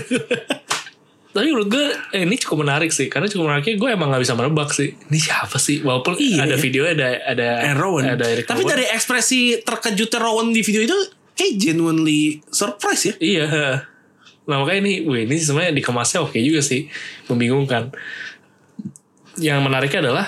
tapi menurut gue eh, ini cukup menarik sih karena cukup menariknya gue emang nggak bisa merebak sih ini siapa sih walaupun
Iya,
ada
iya.
video ada ada
Eh, Rowan.
ada Eric
Tapi
Rowan.
dari ekspresi terkejutnya Rowan di video itu kayak genuinely surprise ya.
Iya. Nah makanya ini, wih, ini sebenarnya dikemasnya oke juga sih, membingungkan. Yang menariknya adalah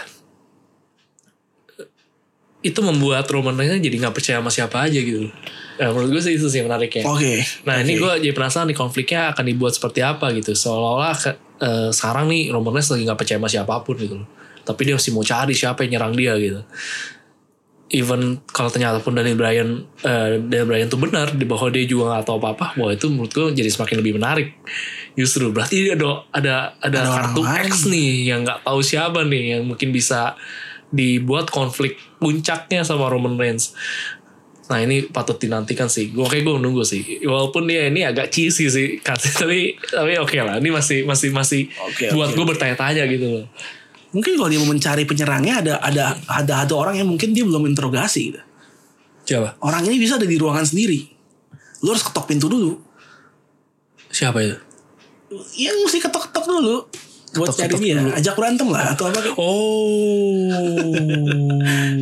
itu membuat Roman Reigns jadi nggak percaya sama siapa aja gitu. Nah, menurut gue sih itu sih yang menariknya.
Oke.
Nah
Oke.
ini gue jadi penasaran nih konfliknya akan dibuat seperti apa gitu. Seolah-olah ke- eh, sekarang nih Roman Reigns lagi nggak percaya sama siapapun gitu. loh. Tapi dia masih mau cari siapa yang nyerang dia gitu. even kalau ternyata pun Daniel Bryan eh, Daniel Bryan tuh benar di bahwa dia juga nggak tahu apa-apa wah itu menurut gue jadi semakin lebih menarik justru berarti ada ada ada,
Ada orang
kartu
lain.
X nih yang nggak tahu siapa nih yang mungkin bisa dibuat konflik puncaknya sama Roman Reigns nah ini patut dinantikan sih gue kayak gue nunggu sih walaupun dia ini agak cheesy sih tapi tapi oke lah ini masih masih masih
Oke,
buat
oke.
gue bertanya-tanya gitu loh
Mungkin kalau dia mau mencari penyerangnya ada ada ada ada orang yang mungkin dia belum interogasi gitu.
siapa
Orang ini bisa ada di ruangan sendiri. Lu harus ketok pintu dulu.
siapa itu
Yang mesti ketok-ketok dulu buat cari
Ketok-ketok
dia. Ajak berantem lah atau apa Oh.
Oh.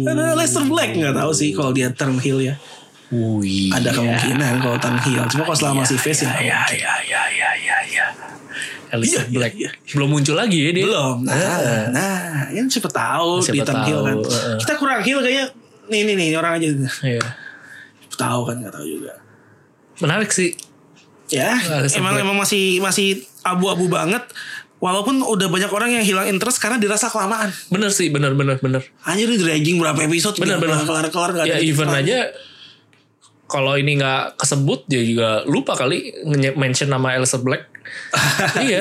Karena Lester Black nggak tahu sih kalau dia turn heel ya.
Wih.
Ada kemungkinan
Iya.
kalau turn heel. Cuma kalau selama masih face ya.
Ya ya ya ya ya ya.
Iya,
Alicia
iya,
Black
iya.
belum muncul lagi ya dia.
Belum. Nah, nah, kan siapa tahu
Siapa
di turn heel kan.
tahu, eh. heeh.
Kita kurang heel kayaknya. Nih nih nih orang aja
Iya.
tahu kan nggak tahu juga.
Menarik sih.
Ya,
Nah, Ada
emang
sempat.
emang masih masih abu-abu banget. Walaupun udah banyak orang yang hilang interest karena dirasa kelamaan.
Bener sih, bener bener bener.
Anjir ini dragging berapa episode gitu.
Bener
Iya,
bener.
kelar-kelar nggak
ya
ada
event
kelar.
aja kalau ini nggak kesebut dia juga lupa kali nge- mention nama Alicia Black. iya.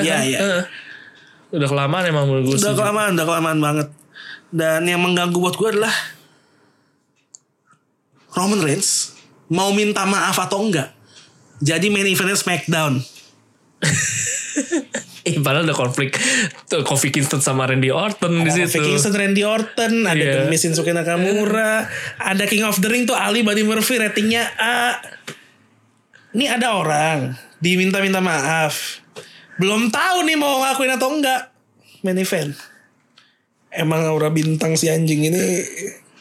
Iya,
kan?
iya.
Heeh. Udah kelamaan emang menurut gue
Udah
sih.
kelamaan, udah kelamaan banget. Dan yang mengganggu buat gue adalah Roman Reigns mau minta maaf atau enggak. Jadi main eventnya SmackDown.
Eh, padahal ada konflik Tuh, Kofi Kingston sama Randy Orton di
Ada
situ.
Kofi Kingston, Randy Orton, ada
Iya.
The Miz, Shinsuke Nakamura, ada King of the Ring tuh Ali Buddy Murphy ratingnya A. Ini ada orang diminta-minta maaf. Belum tahu nih mau ngakuin atau enggak. Main event. Emang aura bintang si anjing ini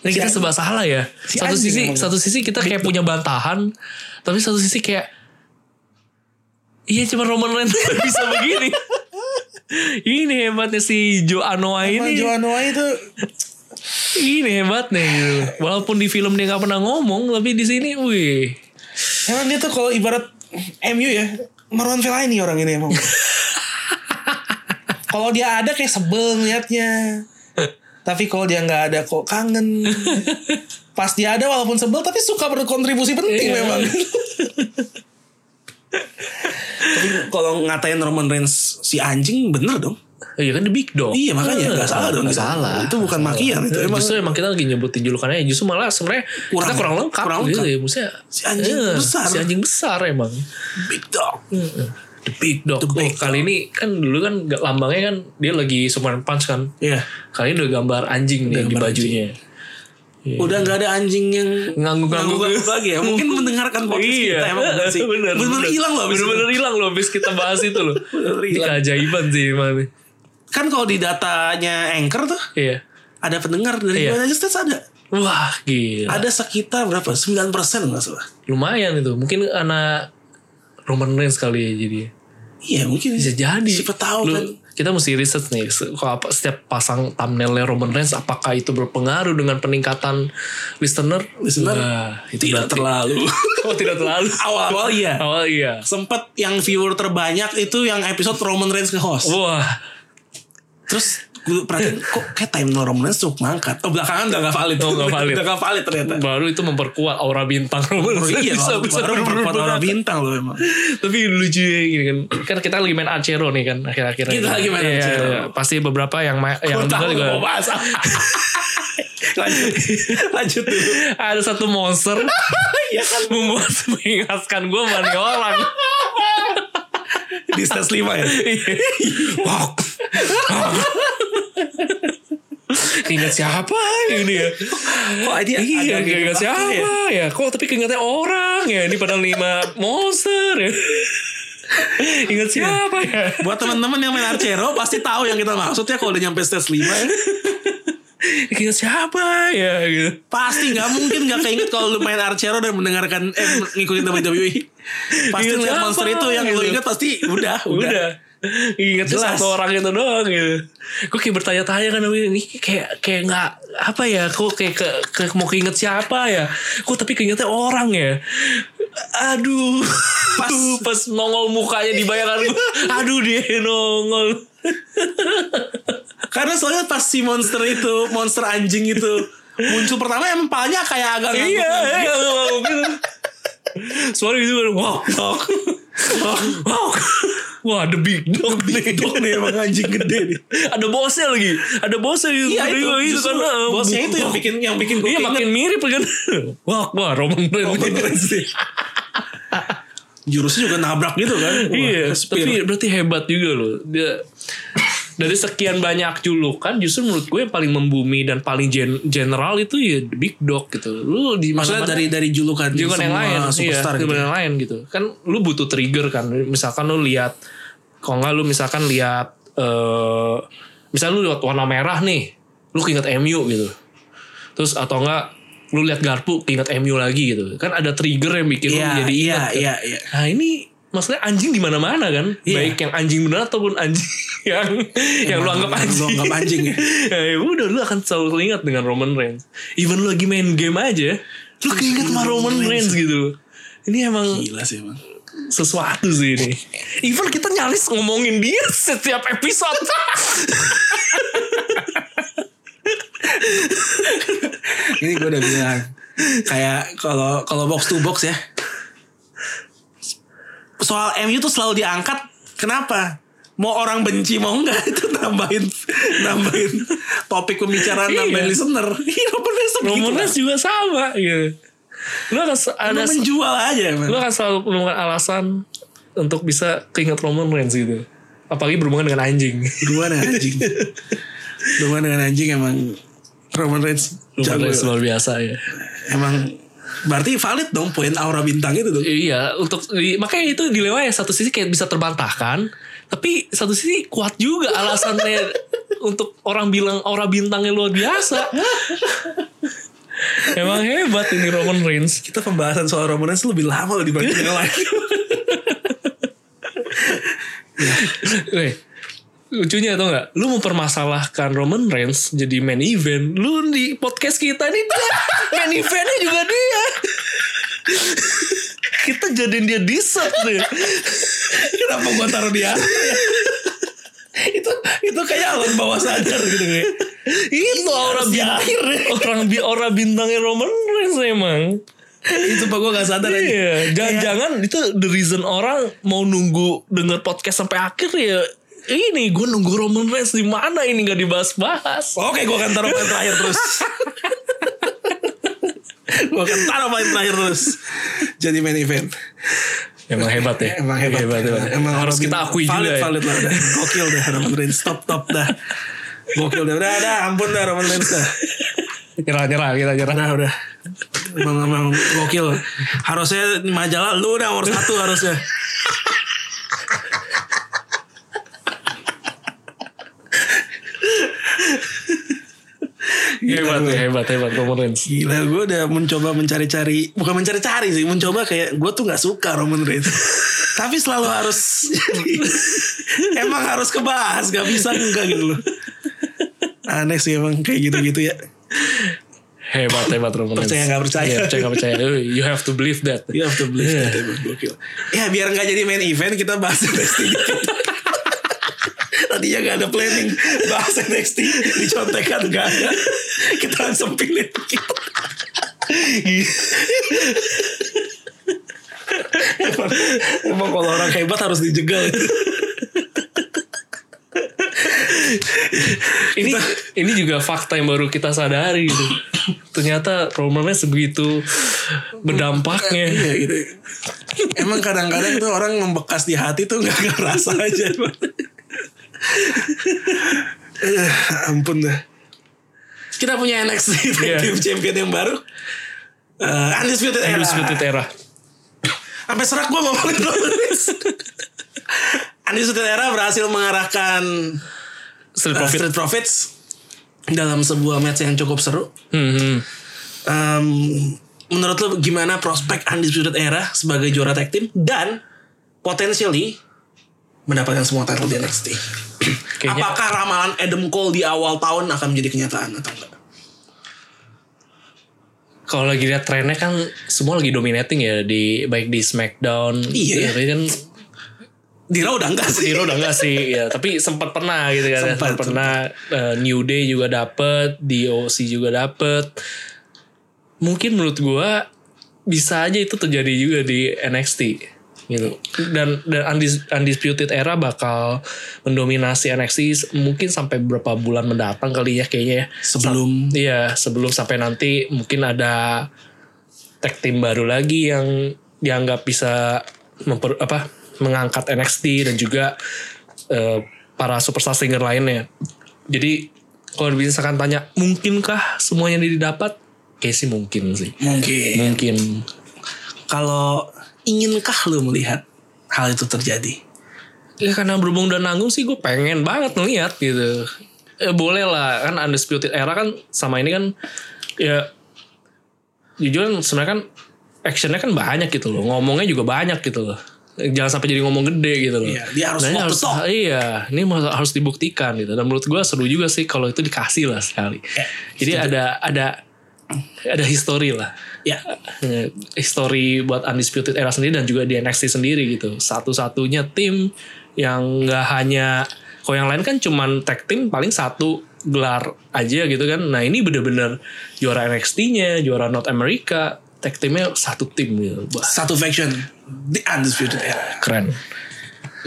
Ini kita
si
sebab salah ya.
si
satu
anjing
sisi,
emang. Gitu.
satu sisi kita kayak punya bantahan, tapi satu sisi kayak iya cuma Roman Reigns yang bisa begini. Ini hebatnya si Joe Anoa
Emang
ini.
Joan Wai itu
Ini hebatnya gitu. Walaupun di film dia nggak pernah ngomong, tapi di sini, wih.
Emang dia tuh kalau ibarat MU ya Marwan Fellaini orang ini emang Kalau dia ada kayak sebel ngeliatnya Tapi kalau dia nggak ada kok kangen Pas dia ada walaupun sebel Tapi suka berkontribusi penting
Iya.
memang Tapi kalau ngatain Roman Reigns si anjing bener dong
Iya kan The Big Dog.
Iya makanya nggak salah dong
Nggak
gitu.
salah.
Itu bukan makian itu emang
Eh, justru emang kita lagi nyebutin julukannya ya. justru malah sebenarnya
Kurang.
kita kurang lengkap,
Kurang lengkap.
gitu ya maksudnya
Si anjing
eh,
besar.
si anjing besar emang
big dog
The Big Dog.
The Big
Oh, kali ini kan dulu kan nggak- lambangnya kan dia lagi Superman Punch kan.
Iya
Kali ini udah gambar anjing nih di
gambar
bajunya.
Udah nggak ada anjing yang
Iya. Ngangguk-ngangguk. Iya.
ngangguk-ngangguk lagi ya. Mungkin mendengarkan podcast kita emang bener sih.
bener,
Bener-bener hilang loh. abis itu.
Bener-bener hilang loh abis kita bahas itu loh. Ini keajaiban sih emang nih.
Kan kalau di datanya Anchor tuh
Iya.
ada pendengar dari
Iya.
United States ada.
Wah gila.
Ada sekitar berapa? 9% nggak salah.
Lumayan itu. Mungkin anak Roman Reigns kali ya jadi.
Iya mungkin
Bisa jadi.
Siapa tahu
Lu-
kan.
Kita mesti riset nih. se- Kalau apa, setiap pasang thumbnailnya Roman Reigns. Apakah itu berpengaruh dengan peningkatan listener?
Listener
Wah, itu
tidak
berarti-
terlalu.
Oh tidak terlalu.
Awal-awal iya.
Awal iya.
Sempet yang viewer terbanyak itu yang episode Roman Reigns nge-host.
Wah.
Terus gue perhatiin kok kayak time Roman Reigns tuh mengangkat. Oh belakangan udah gak valid.
Oh, nggak valid.
udah gak valid ternyata.
Baru itu memperkuat aura bintang Roman
Oh,
Reigns.
iya,
Bisa-
baru,
bisa
baru memperkuat
berubah.
orang bintang loh emang.
Tapi lucu ya gini kan. Kan kita lagi main Acero nih kan akhir-akhir ini.
Kita lagi main
Iya,
Acero.
iya. Pasti beberapa yang ma-
Gua
yang dengar
tahu
juga.
mau bahas apa. lanjut, lanjut dulu.
Ada satu monster
Iya kan
membuat mengingatkan gue sama nih orang.
di stage lima ya. Wow.
Keinget siapa ini ya?
Kok ini
Iya,
ada
keinget
waktu
siapa
ya?
ya? Kok tapi keingetnya orang ya? Ini padahal lima monster
Iya.
ya. Ingat siapa ya?
Buat teman-teman yang main Arcero pasti tahu yang kita maksud ya kalau udah nyampe stage lima ya.
Ingat siapa ya? Gitu.
Pasti nggak mungkin nggak keinget kalau lu main Arcero dan mendengarkan eh ngikutin WWE. Pasti
Ingat
lihat
siapa?
monster itu yang lu
Gitu.
inget pasti udah, udah.
udah ingetnya
Jelas.
satu orang itu doang gitu gue kayak bertanya-tanya kan ini kayak kayak nggak apa ya kok kayak ke, ke- mau keinget siapa ya kok tapi keingetnya orang ya aduh pas pas nongol mukanya di bayangan gue aduh dia nongol
Karena soalnya pas si monster itu, monster anjing itu muncul pertama emang palanya kayak agak ngangguk.
Iya, iya, aku gitu. Suara gitu kan, wow, wow, wow, wow. Wah, the big dog nih.
Dog nih emang anjing gede nih.
Ada bosnya lagi. Ada bosnya gitu.
Iya itu,
Itu
justru
karena, uh,
bosnya itu yang
wow.
bikin yang bikin gue
Iya makin mirip kan. Wah, wah Roman Reigns.
sih. Iya. Jurusnya juga nabrak gitu kan. Wah,
Iya,
spear.
tapi berarti hebat juga loh. Dia dari sekian banyak julukan justru menurut gue yang paling membumi dan paling gen- general itu ya The Big Dog gitu. Lu di
maksudnya
mana-mana-
dari dari julukan di
julukan yang
semua
lain
superstar
iya,
gitu.
julukan yang lain gitu kan lu butuh trigger kan misalkan lu lihat kalau nggak lu misalkan lihat eh misalnya lu lihat warna merah nih lu keinget MU gitu terus atau enggak lu lihat garpu keinget MU lagi gitu kan ada trigger yang bikin
Iya,
lu jadi
iya,
ingat kan.
iya, iya.
nah ini maksudnya anjing di mana mana kan
Iya.
baik yang anjing beneran ataupun anjing yang yang lu anggap
yang lu
anjing
anggap anjing ya.
ya udah lu akan selalu ingat dengan Roman Reigns even lu lagi main game aja lu keinget sama Roman Reigns Iya. gitu ini emang
Gila sih emang.
sesuatu sih ini even kita nyaris ngomongin dia setiap episode
Ini gue udah bilang kayak kalau kalau box to box ya. Soal MU tuh selalu diangkat. Kenapa? Mau orang benci mau enggak itu nambahin nambahin topik pembicaraan
Iya.
nambahin listener. Iya, Roman Reigns tuh begitu
Roman
kan.
Reigns juga sama gitu lu akan se- ada
Lu menjual aja emang.
lu akan selalu menemukan alasan untuk bisa keinget Roman Reigns gitu apalagi berhubungan dengan anjing
Dua dengan anjing. Dua dengan anjing emang Roman Reigns
Roman
jago.
Reigns luar biasa ya
Emang berarti valid dong poin aura bintang itu dong.
Iya, untuk i- makanya itu dilema ya satu sisi kayak bisa terbantahkan, tapi satu sisi kuat juga alasannya untuk orang bilang aura bintangnya luar biasa. Emang hebat ini Roman Reigns.
Kita pembahasan soal Roman Reigns lebih lama loh dibanding yang lain.
Weh, lucunya atau enggak? Lu mempermasalahkan Roman Reigns jadi main event. Lu di podcast kita nih dia main eventnya juga dia. kita jadiin dia dessert deh.
Kenapa gua taruh dia? itu itu kayak alam bawah sadar gitu Iya, kayak.
Itu aura bintang. Orang bi aura bintangnya Roman Reigns emang.
Itu pak gua gak sadar aja.
Iya, jangan-jangan itu the reason orang mau nunggu denger podcast sampai akhir ya. Ini gue nunggu Roman Reigns di mana ini nggak dibahas-bahas.
Oke, gua akan taruh paling terakhir terus. gua akan taruh paling terakhir terus. Jadi main event.
Emang hebat ya.
Emang hebat.
hebat.
Emang
harus kita akui
valid,
juga. ya.
Valid, valid lah. udah. Gokil dah Roman Reigns. Stop, stop dah. Gokil dah. Udah, udah. Ampun dah Roman Reigns dah.
Nyerah, nyerah, kita nyerah.
Udah Nah, udah Emang emang gokil Harusnya di majalah lu udah nomor satu harusnya
Hebat, ya, hebat, hebat Roman Reigns.
Gila gue udah mencoba mencari-cari Bukan mencari-cari sih Mencoba kayak Gue tuh gak suka Roman Reigns Tapi selalu harus Emang harus kebahas Gak bisa enggak gitu loh Aneh sih emang kayak gitu-gitu ya
Hebat, hebat Roman Reigns.
Percaya nggak percaya? Ya,
Iya, percaya nggak percaya. You have to believe that.
You have to believe that emang gokil. Ya biar nggak jadi main event kita bahas NXT dikit. Tadinya nggak ada planning bahas NXT dicontekan nggak ada. Kita langsung pilih. emang, emang kalau orang hebat harus dijegal.
ini ini juga fakta yang baru kita sadari gitu. Ternyata Roman Reigns sebegitu berdampaknya.
Iya gitu. Emang kadang-kadang tuh orang membekas di hati tuh nggak kerasa aja. Eh, ampun dah. Kita punya NXT Tag
Iya.
Team Champion yang baru. Eh, Undisputed Era.
Undisputed Era.
Sampai serak gue ngomongin Roman Reigns. Undisputed Era berhasil mengarahkan
Street
eh,
Profit.
Street Profits dalam sebuah match yang cukup seru.
Hmm, hmm.
Em, menurut lo gimana prospek Undisputed Era sebagai juara tag team dan potentially mendapatkan semua title di NXT?
Kayaknya-
Apakah ramalan Adam Cole di awal tahun akan menjadi kenyataan atau enggak?
Kalau lagi lihat trennya kan semua lagi dominating ya di baik di SmackDown.
Iya, ya.
Tapi kan
Dira udah enggak sih.
Diro udah enggak sih ya tapi sempat pernah gitu kan
Sempat,
sempat pernah eh, New Day juga dapet DOC juga dapet mungkin menurut gua bisa aja itu terjadi juga di NXT gitu dan dan Undis- undisputed era bakal mendominasi NXT s- mungkin sampai berapa bulan mendatang kali ya kayaknya ya
Sebelum
Iya, sebelum sampai nanti mungkin ada tag team baru lagi yang dianggap bisa memper, apa mengangkat NXT dan juga eh, para superstar singer lainnya. Jadi kalau misalkan tanya mungkinkah semuanya ini didapat? Kayak sih mungkin sih.
mungkin
Mungkin.
kalau inginkah lu melihat hal itu terjadi?
Ya karena berhubung dan nanggung sih gue pengen banget ngeliat gitu. Eh, boleh lah kan Undisputed Era kan sama ini kan ya jujur kan sebenarnya kan actionnya kan banyak gitu loh. Ngomongnya juga banyak gitu loh. Jangan sampai jadi ngomong gede gitu loh.
Iya, dia harus
ini
walk the talk.
Iya, ini mas- harus dibuktikan gitu. Dan menurut gue seru juga sih kalau itu dikasih lah sekali.
Eh,
jadi ada ada ada histori lah
Ya,
eh, history buat Undisputed Era sendiri dan juga di NXT sendiri gitu. Satu-satunya tim yang nggak hanya kalau yang lain kan cuman tag team paling satu gelar aja gitu kan. Nah, ini bener-bener juara NXT-nya, juara North America, tag teamnya satu tim gitu. Wah,
satu faction the undisputed era.
keren.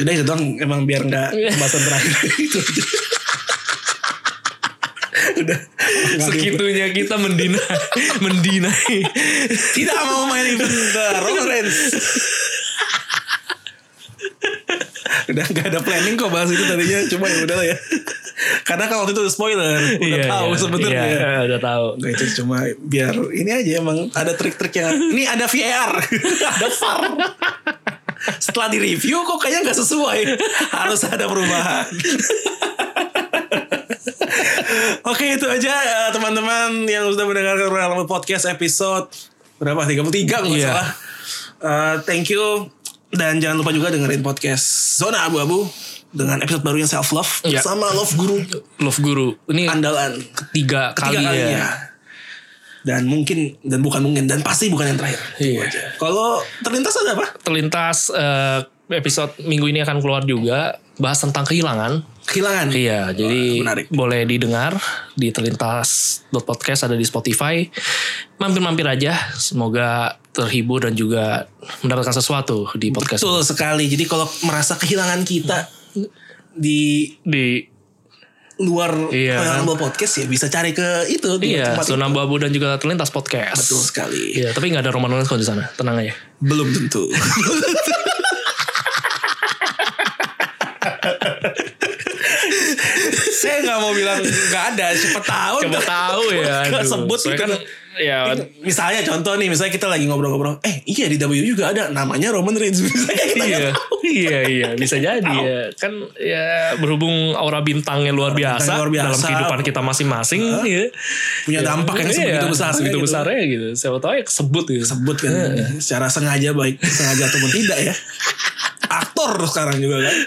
Udah itu doang emang biar nggak pembahasan terakhir itu. aja. Udah. Nggak gitu. ada-
Segitunya kita mendina mendinai.
Tidak mau main event Roman Reigns. Udah nggak ada planning kok bahas itu tadinya cuma ya udah lah ya. Karena kalau waktu itu spoiler, udah
Iya,
tahu
iya,
sebenarnya.
iya, eh, udah tahu.
Nggak, itu cuma biar ini aja emang ada trik-trik yang ini ada VAR, ada VAR. Setelah di review kok kayaknya nggak sesuai, harus ada perubahan. Oke itu aja eh, teman-teman yang sudah mendengarkan Royal Rumble Podcast episode berapa 33 kalau nggak
Iya.
salah. Eh, thank you dan jangan lupa juga dengerin podcast Zona Abu-abu dengan episode baru yang self love
Iya.
bersama Love Guru
Love Guru. Ini
andalan
tiga kali,
ketiga kalinya.
ya.
Dan mungkin dan bukan mungkin dan pasti bukan yang terakhir.
Iya.
Itu aja. Kalau terlintas ada apa?
Terlintas eh, episode minggu ini akan keluar juga bahas tentang kehilangan.
Kehilangan.
Iya, jadi
menarik.
boleh didengar di terlintas.podcast ada di Spotify. Mampir-mampir aja, semoga terhibur dan juga mendapatkan sesuatu di podcast
Betul sekali. Jadi kalau merasa kehilangan kita di
di
luar
Iya.
Royal Rumble podcast ya bisa cari ke itu di
iya,
tempat itu.
Zona Babu dan juga terlintas podcast.
Betul sekali.
Iya, tapi nggak ada Roman Reigns kalau di sana, tenang aja.
Belum tentu. Saya nggak mau bilang nggak ada. Siapa tahu.
Coba tahu ya.
Oh, Nggak
aduh.
sebut
Soalnya
gitu.
kan, ya
Iya, misalnya contoh nih misalnya kita lagi ngobrol-ngobrol eh iya di W juga ada namanya Roman Reigns misalnya kita
iya, iya, iya, bisa jadi ya. Kan ya berhubung aura bintangnya luar biasa,
bintangnya luar biasa.
dalam kehidupan kita masing-masing, ya.
punya dampak yang
Iya,
sebegitu besar
sebegitu
gitu.
besarnya gitu. Siapa tahu ya kesebut gitu.
sebut kan secara sengaja baik sengaja ataupun tidak ya aktor sekarang juga kan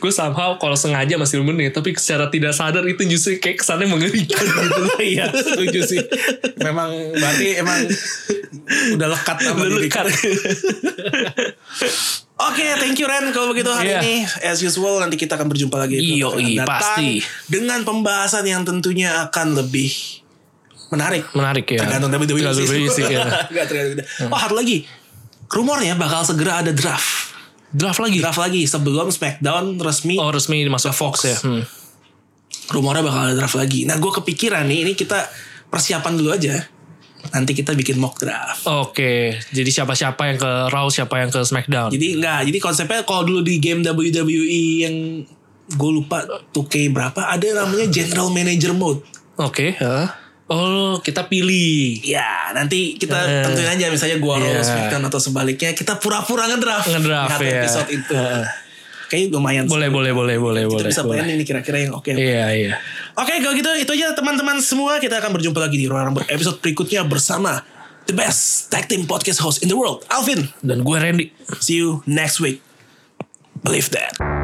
Gue somehow kalau sengaja masih menit, tapi secara tidak sadar itu justru kayak kesannya mengerikan gitu.
iya setuju sih memang berarti emang udah lekat sama
Udah
diri.
lekat.
Oke, thank you Ren kalau begitu hari
Iya.
ini as usual nanti kita akan berjumpa lagi episode
Yoi,
akan datang
pasti.
dengan pembahasan yang tentunya akan lebih menarik
Menarik ya.
Tergantung WWE
Tergantung WWE sih, ya.
Nggak, tergantung. Oh satu lagi. Rumornya bakal segera ada draft.
Draft lagi.
Draft lagi sebelum SmackDown resmi.
Oh resmi masuk Fox ya. Hmm.
Rumornya bakal ada draft lagi. Nah gue kepikiran nih. Ini kita persiapan dulu aja. Nanti kita bikin mock draft.
Oke, jadi siapa-siapa yang ke Raw, siapa yang ke SmackDown.
Jadi enggak. Jadi konsepnya kalau dulu di game WWE yang gue lupa 2K berapa. Ada namanya General Manager Mode.
Oke. heeh. Oh kita pilih
Ya nanti kita
Eh.
tentuin aja misalnya gua
Iya.
yeah. SmackDown atau sebaliknya kita pura-pura ngedraft. Lihat
Ngedraft, ya.
episode itu. Kayaknya lumayan. sih.
Boleh boleh boleh boleh
kita
boleh.
bisa
boleh.
planning nih kira-kira yang oke.
Iya iya.
Oke, kalau gitu itu aja teman-teman semua. Kita akan berjumpa lagi di Ruang Rambut episode berikutnya bersama the best tag team podcast host in the world, Alvin.
Dan gue Randy.
See you next week. Believe that.